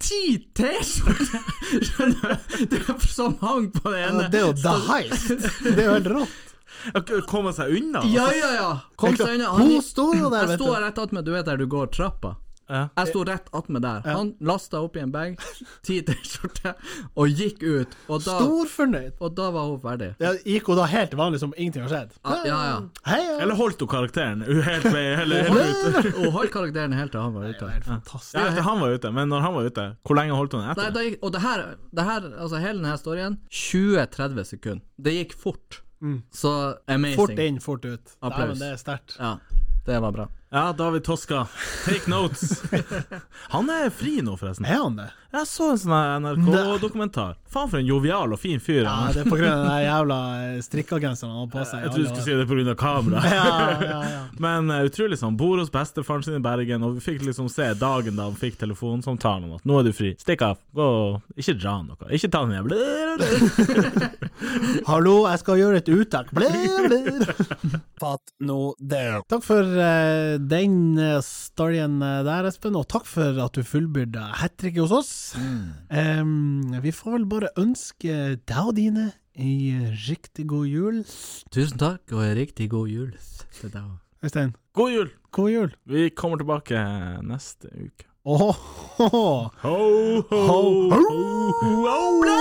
Speaker 2: ti T-skjorter, skjønner du, Det- som hang på det ene.
Speaker 3: Det er jo the heist. Det er jo helt rått.
Speaker 5: Komme seg unna?
Speaker 2: Ja, ja, ja. Kom
Speaker 3: Det er
Speaker 2: seg
Speaker 3: klart.
Speaker 2: unna.
Speaker 3: Hun sto jo der,
Speaker 2: Jeg
Speaker 3: vet
Speaker 2: sto
Speaker 3: du.
Speaker 2: rett attmed, du vet der du går trappa.
Speaker 5: Ja.
Speaker 2: Jeg sto rett attmed der. Han lasta oppi en bag, [laughs] ti T-skjorter, og gikk ut. Og da,
Speaker 3: Storfornøyd.
Speaker 2: og da var hun ferdig.
Speaker 3: Ja, gikk hun da helt vanlig som ingenting har skjedd?
Speaker 2: Ja, ja. ja.
Speaker 3: Hei, ja.
Speaker 5: Eller holdt hun karakteren Hun helt vei hele,
Speaker 2: Hun
Speaker 5: hele ut?
Speaker 2: holdt- Hun holdt karakteren helt til han var ute.
Speaker 3: Fantastisk.
Speaker 5: Ja, etter han var ute, men når han var ute, hvor lenge holdt hun
Speaker 2: Nei,
Speaker 5: etter?
Speaker 2: da gikk, og det her, det her altså hele denne storyen 20-30 sekunder. Det gikk fort. Så
Speaker 3: Mm.
Speaker 2: amazing.
Speaker 3: Fort inn, fort ut. Nei, men
Speaker 2: Applaus.
Speaker 3: det er sterkt.
Speaker 2: Ja, det var bra.
Speaker 5: Ja, David Toska, take notes. Han er fri nå, forresten.
Speaker 3: Er han det?
Speaker 5: Jeg så en sånn her NRK-dokumentar. Faen for en jovial og fin fyr.
Speaker 3: Ja,
Speaker 5: han er.
Speaker 3: det er på grunn av den der jævla eh, strikkagenseren han har på seg.
Speaker 5: Jeg trodde du skulle si det pga. kamera. [laughs]
Speaker 3: Ja, ja, ja.
Speaker 5: Men eh, utrolig sånn. Bor hos bestefaren sin i Bergen, og vi fikk liksom se dagen da han fikk telefonsamtalen om at 'nå er du fri, stikk av, gå, ikke dra noe, ikke ta den hjem'.
Speaker 3: Hallo, jeg skal gjøre et uttak. Blir, blir. Fatt nå det. Takk for eh, den eh, storyen eh, der, Espen, og takk for at du fullbyrda hat tricket hos oss. Em, vi får vel bare ønske deg og dine ei riktig god jul.
Speaker 2: Tusen takk, og en riktig god jul. til deg også.
Speaker 3: Øystein,
Speaker 5: God jul!
Speaker 3: god jul.
Speaker 5: Vi kommer tilbake
Speaker 3: [laughs]
Speaker 5: neste uke.
Speaker 3: Åhå,
Speaker 5: Ho, ho, ho, ho, ho.